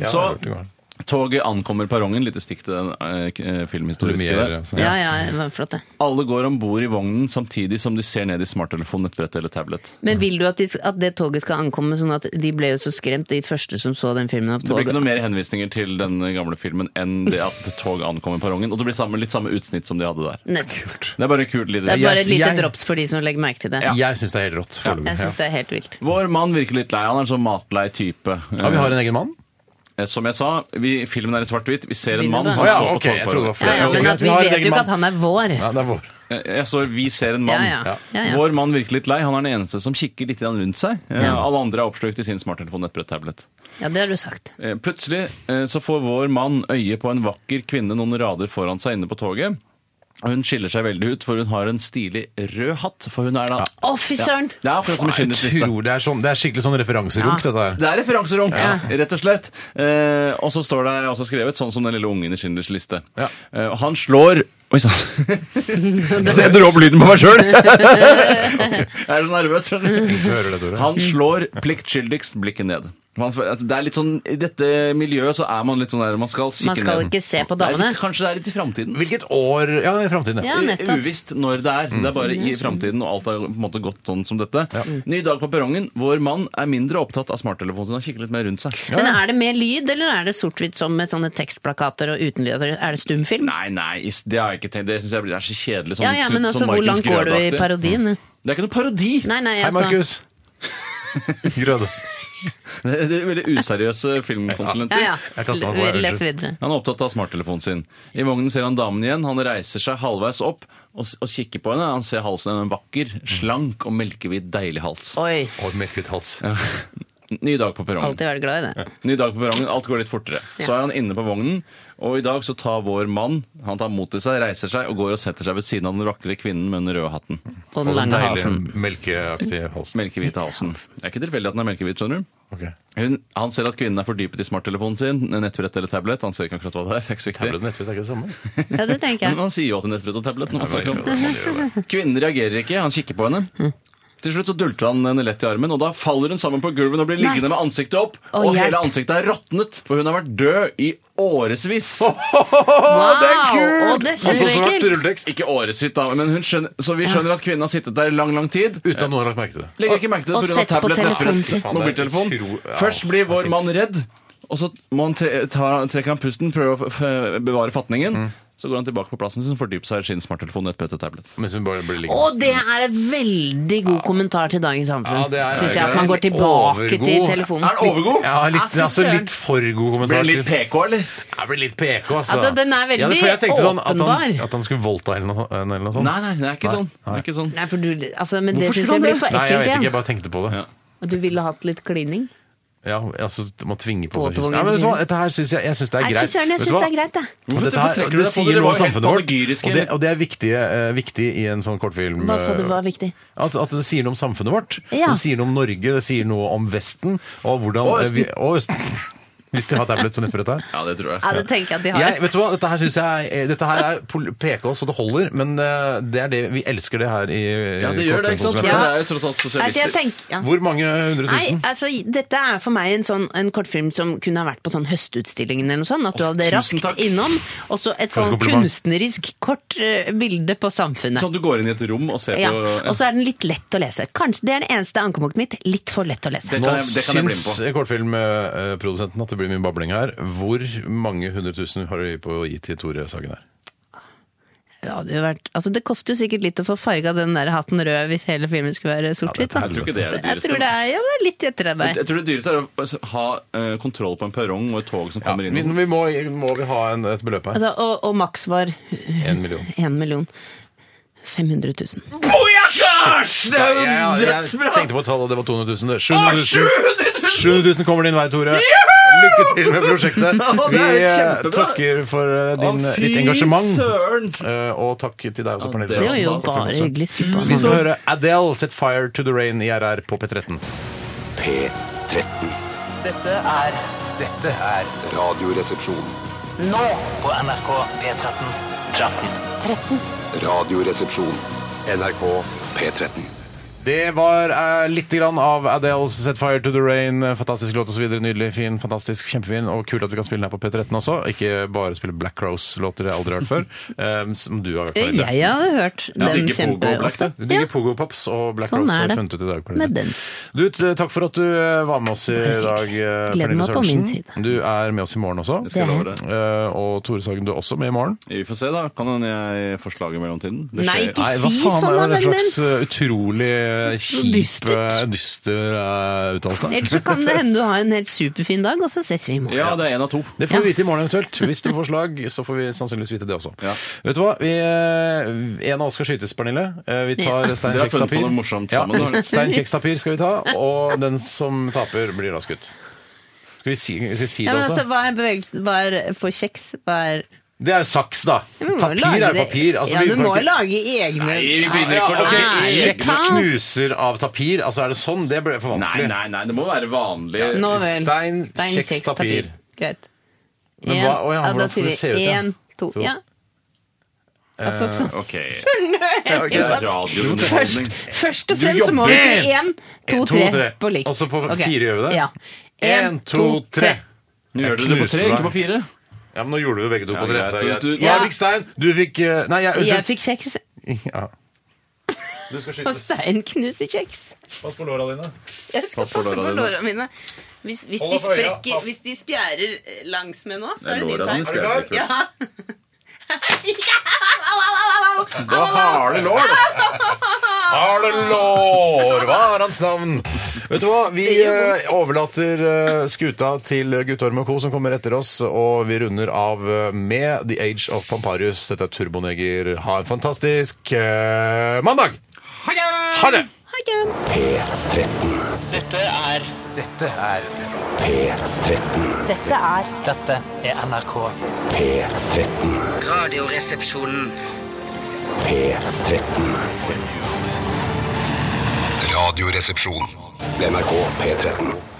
Ja,
Så-
det går.
Toget ankommer perrongen. Lite stikk til den eh, k- eh, filmhistoriske
Lumiere,
der.
så-
Ja, ja, det var flott, det.
Alle går om bord i vognen samtidig som de ser ned i smarttelefon, nettbrett eller tablet.
Men vil du at, de, at det toget skal ankomme, sånn at de ble jo så skremt, de første som så den filmen av
Det blir ikke
toget?
noe mer henvisninger til den gamle filmen enn det at et tog ankommer perrongen. Og det blir samme, litt samme utsnitt som de hadde der.
Nei.
Det er bare kult
Det
lite.
er bare et
Jeg-
lite
jeg-
drops for de som legger merke til det.
Jeg syns det er helt rått.
Jeg
foreløpig.
syns det er helt vilt.
Vår mann virker litt lei. Han er en sånn matlei type.
Ja, vi har en egen mann.
Eh, Som jeg sa, vi, filmen er i svart-hvitt. Vi ser en
Begynner
mann.
du?
Han
Å ja,
står
ok,
på
jeg trodde det var
togperrongen.
Ja, ja,
Ok,
men
greit,
at
vi
vi
har en
vet
egen
jo ikke
mann.
at han er vår.
Ja, det er vår.
Eh, Jeg så Vi ser en mann.
Ja, ja. Ja, ja.
Vår mann virker litt lei. Han er den eneste som kikker litt grann rundt seg. Eh, Alle andre er oppslukt i sin smarttelefon, nettbrett, tablet.
Ja, det har du sagt.
Eh, Plutselig eh, så får vår mann øye på en vakker kvinne noen rader foran seg inne på toget. Og Hun skiller seg veldig ut, for hun har en stilig rød hatt. For hun er da
Å, fy søren!
Det er akkurat som i
Jeg
Schindlers liste.
tror det er, sånn, det er skikkelig sånn referanserunk, dette [LAUGHS] her.
Det er referanserunk, rett og slett. Eh, og så står det også skrevet sånn som den lille ungen i Schindlers liste.
Ja.
Eh, han slår Oi sann! Jeg dro opp lyden på meg sjøl! Jeg er så nervøs. skjønner du.
Så hører du det, Tore.
Han slår pliktskyldigst blikket ned. Man føler at det er litt sånn, I dette miljøet så er man litt sånn der Man skal kikke
Man skal
ned.
ikke se på
Det er
damene.
litt, kanskje det er litt i framtiden.
Hvilket år Ja, i framtiden.
Ja, nettopp.
Uvisst når det er. Det er bare i framtiden, og alt har på en måte gått sånn som dette. Ny dag på perrongen. Vår mann er mindre opptatt av smarttelefonen sin. Han kikker litt mer rundt seg.
Men er det med lyd, eller er det sort-hvitt som med sånne tekstplakater og uten lyd? Er det stumfilm?
Nei, nei, is- det har jeg ikke tenkt. Det syns jeg blir det er så kjedelig. Sånn,
Ja, ja, men
sånn
altså, hvor
Markus
langt går du i
Grød-aktig.
parodien?
Det er ikke noe parodi!
Nei, nei,
Hei,
altså.
Markus. [LAUGHS] Grøde.
Det er, [LAUGHS] det er veldig useriøse filmkonsulenter.
Ja,
Jeg
ja.
kaster meg på, jeg,
Les
unnskyld.
videre.
Han er opptatt av smarttelefonen sin. I vognen ser han damen igjen. Han reiser seg halvveis opp og, s- og kikker på henne. Han ser halsen hennes. En vakker, slank og melkehvit, deilig hals.
Oi.
Og melkehvitt hals.
Ny dag på perrongen.
Alltid vært glad i det.
Ny dag på perrongen, alt går litt fortere. Så er han inne på vognen, og i dag så tar vår mann Han tar mot til seg, reiser seg og går og setter seg ved siden av den vakre kvinnen med den røde hatten.
På den lange
Deilig
halsen.
melkeaktig hals.
Melkehvite halsen. Det er ikke tilfeldig at den er melkehvit, skjønner du.
Ok.
Hun, han ser at kvinnen er fordypet i smarttelefonen sin, nettbrett eller tablet. Han ser ikke akkurat hva det er. Det er ikke så
Tablet og
viktig.
nettbrett er ikke det samme.
Ja, det tenker [LAUGHS]
Men
jeg.
man sier jo at det er nettbrett og tablet når man snakker om det.
Man gjør det.
Kvinnen reagerer ikke, han kikker på henne. Til slutt så dulter han henne lett i armen, og da faller hun sammen på gulven og blir liggende med ansiktet opp.
Å,
og hele
hjelp.
ansiktet er råtnet, for hun har vært død i
[LAUGHS]
årevis.
Wow!
det er kult!
Og det er
Og så svart
kjempeekkelt!
rulletekst.
Ikke årevis, da, men hun skjønner, så vi skjønner at kvinnen har sittet der lang, lang tid.
Uten at noen har lagt merke til det.
Legger ikke merke til det
Og
på grunn av
sett på
tablet,
telefonen
nettbrett,
sin.
mobiltelefon.
Utrolig, ja,
Først blir
det
vår
er fint.
mann redd, og så må han tre, ta, trekker han pusten, prøver å f f bevare fatningen.
Mm.
Så går han tilbake på plassen sin, fordyper seg i sin smarttelefon, nettbrett og tablet.
Mens hun bare blir liggende.
Og det er en veldig god kommentar til dagens samfunn,
Ja, det er-
syns
det
jeg.
er
At man går
litt
tilbake til
overgod.
telefonen.
den overgod?
Ja, litt,
Ja, Ah, fy
altså,
søren.
litt for god
Blir
kommentar.
det litt
til-
PK, eller?
Ja, blir litt PK, altså.
Altså, den er veldig
for jeg tenkte sånn at han,
åpenbar.
at han skulle voldta henne eller noe- henne eller noe sånt.
Nei, nei, det er ikke
Nei,
sånn. Det
nei.
er ikke sånn.
Nei, for du, altså, men det
Hvorfor skulle
syns jeg
han
blir for
Nei, jeg vet
ekkelt
ikke, jeg
igjen.
bare tenkte på det.
Ja.
Og du ville hatt litt klining?
Ja, altså, man tvinger på seg kyss.
Påtvungen
Ja, men vet du hva, dette her synes jeg, jeg synes det er
Nei,
greit.
fy søren, jeg
Vet
syns
du
det
hva?
er greit, jeg.
Hvorfor
Dette
trekker
her,
dere
det
dere på?
sier
Dere
noe
var
om
jo helt
samfunnet vårt.
panegyriske.
Og det, og det er viktig, eh, viktig i en sånn kortfilm.
Hva sa du
eh,
var viktig?
Altså At det sier noe om samfunnet vårt.
Ja.
Det sier noe om Norge, det sier noe om Vesten. Og hvordan
Og
eh,
Østen.
vi- Og Østen. Hvis de har tablet så nettbrett her.
Ja, det tror jeg.
Ja, det tenker jeg at de har.
Jeg, vet du hva, Dette her synes jeg eh, Dette her er pol- PK så det holder, men eh, det er det vi elsker det her i
Ja, det gjør det, ikke sant?
kortfilmkonsulenten.
For
Ja.
det er jo tross alt
Nei, jeg
sosialister.
tenker, ja.
Hvor mange hundre
Nei,
tusen?
altså, dette er for meg en, sånn, en kortfilm som kunne ha vært på sånn Høstutstillingen eller noe sånt. At du hadde
tusen
raskt
takk.
innom. Og så et sånn
kompliment.
kunstnerisk kort eh, bilde på samfunnet.
Sånn at du går inn i et rom og ser
Ja,
på
Og så er den litt lett å lese. Kanskje Det er det eneste ankepunktet mitt. Litt for lett å lese.
Det-
Nå
kan jeg- det kan jeg bli med
syns eh, kortfilmprodusenten at det blir mye babling her. Hvor mange hundre tusen har du på å gi til Tore Sagen her?
Det, hadde jo vært, altså, det koster jo sikkert litt å få farga den der hatten rød hvis hele filmen skulle være sort-hvitt. da.
Jeg tror ikke det er det
jeg
dyreste.
tror det er, ja, det er litt etterarbeid.
Jeg tror det dyreste er å ha eh, kontroll på en perrong og et tog som
Ja,
kommer
vi,
inn.
vi må, må vi ha en, et beløp her?
Altså, og, og maks var
En million.
1 million. 500 000.
Bojakkers! Det er jo
Ja, Ja, jeg
Dødsbra!
tenkte på tallet, det var 200 000. Det.
700
700 000.
000!
700 000 kommer din vei, Tore. Lykke til med
[LAUGHS]
prosjektet.
Ja, det
Vi
er
eh,
kjempebra.
takker for eh, din,
Å, fy
ditt engasjement.
søren.
Eh, Og takk til deg også, Pernille.
det
var
Sørensen.
jo
Takk for
bare
altså.
også.
hyggelig. altså. Suppa.
Vi skal høre Adele set fire to the rain i RR på P13.
P13.
Dette er
Dette er
Radioresepsjon.
nå på NRK P13.
Radioresepsjon. NRK P13.
Det var eh, litt grann av Adele set fire to the rain. Fantastisk låt osv. Nydelig, fin, fantastisk, kjempefin. Og kult at vi kan spille den her på P13 også. Ikke bare spille Black Rose-låter jeg aldri
[LAUGHS]
har hørt før. eh, Som du har hørt.
Jeg
Pernille.
hadde hørt den
digger Pogo Black,
kjempeofte.
Du
Ja,
digger Pogo Pops og Black
Sånn
Rose
er
har
det.
funnet ut i dag. Pernille.
med den.
Du, t- takk for at du eh, var med oss i dag, eh,
Gleder
Pernille
meg på min
Sørensen. Du er med oss i morgen også.
Skal jeg love
Det
deg.
Eh, Og Tore Sagen, du er også med i morgen.
Vi får se, da. Kan hende jeg får slag i mellomtiden. Det
Nei,
skjer-
ikke
Nei, hva
si
faen
sånn, da,
er det
vennen
slags eh, utrolig eh,
Så
kjip,
dystert.
eh, dyster eh, uttalelse?
Ellers så kan det hende du har en helt superfin dag, og så ses vi i morgen.
Ja, det er én av to.
Det får
Ja.
vi vite i morgen eventuelt. Hvis du får slag, så får vi sannsynligvis vite det også.
Ja.
Vet du hva? Vi, eh, en av oss skal skytes, Pernille. Eh, Vi tar
Ja.
stein,
Dere har funnet
kjeks,
på
papir.
noe morsomt sammen, da.
[LAUGHS] stein, kjeks, papir skal vi ta, og den som taper, blir da skutt. Skal vi si, skal vi si
Ja,
det
men
også?
altså, hva er bevegelse Hva er for kjeks? Hva er
Det er jo saks, da.
Du må jo
Papir
lage
er
det-
papir. Altså,
ja,
vi
du
kan
må
ikke-
lage egne
Nei, vi begynner
Ja,
ikke å
ok,
lage
Nei,
Kjeks
kan.
knuser av tapir. Altså, er det sånn? Det ble for
Nei,
vanskelig.
nei, nei, det må være vanlig.
Nå vel.
Stein, kjeks, tapir.
Greit.
Men
En-
hva- å ja,
da
hvordan skal
sier
det se ut,
vi
ja?
En, to,
To. Eh,
ja. Altså, så,
OK.
Ja, ok.
Det er radiounderholdning.
først, først og
Du
fremst så må vi
jobber!
si én, to,
En, to, tre.
tre på likt.
Og så på
Ok.
fire gjør vi det?
Ja.
En, to, tre.
Nå gjør dere det på tre, ikke på fire.
Ja, men nå gjorde du begge to
Ja,
på tre.
greit.
Det er greit.
Du- du-
Nå
Ja.
fikk Stein. Du fikk eh, Nei, jeg
Jeg
unnskyld.
fikk kjeks,
Ja. Du skal
og
skytes.
Stein knuser kjeks.
Pass på låra dine.
Jeg skal
Pass på
passe på
låra dine.
låra mine. Hvis, hvis,
Hold
de
deg for øya.
sprekker,
Pass.
hvis de spjærer eh, langs med nå, så
Det
er
er
det din
låra
feil.
dine skal jeg
Er
ikke
Ja. Au, au, au, au, au.
Da har det lår!
[LAUGHS] Har det lår? Hva er hans navn? Vet du hva, vi eh, overlater eh, skuta til Guttorm og co. som kommer etter oss, og vi runder av eh, med The Age of Pamparius. Dette er Turboneger. Ha en fantastisk eh, mandag! Ha det!
Ha det.
Dette er
Dette er
Dette er Dette er NRK.
Radioresepsjonen.
Radioresepsjon.
NRK P13.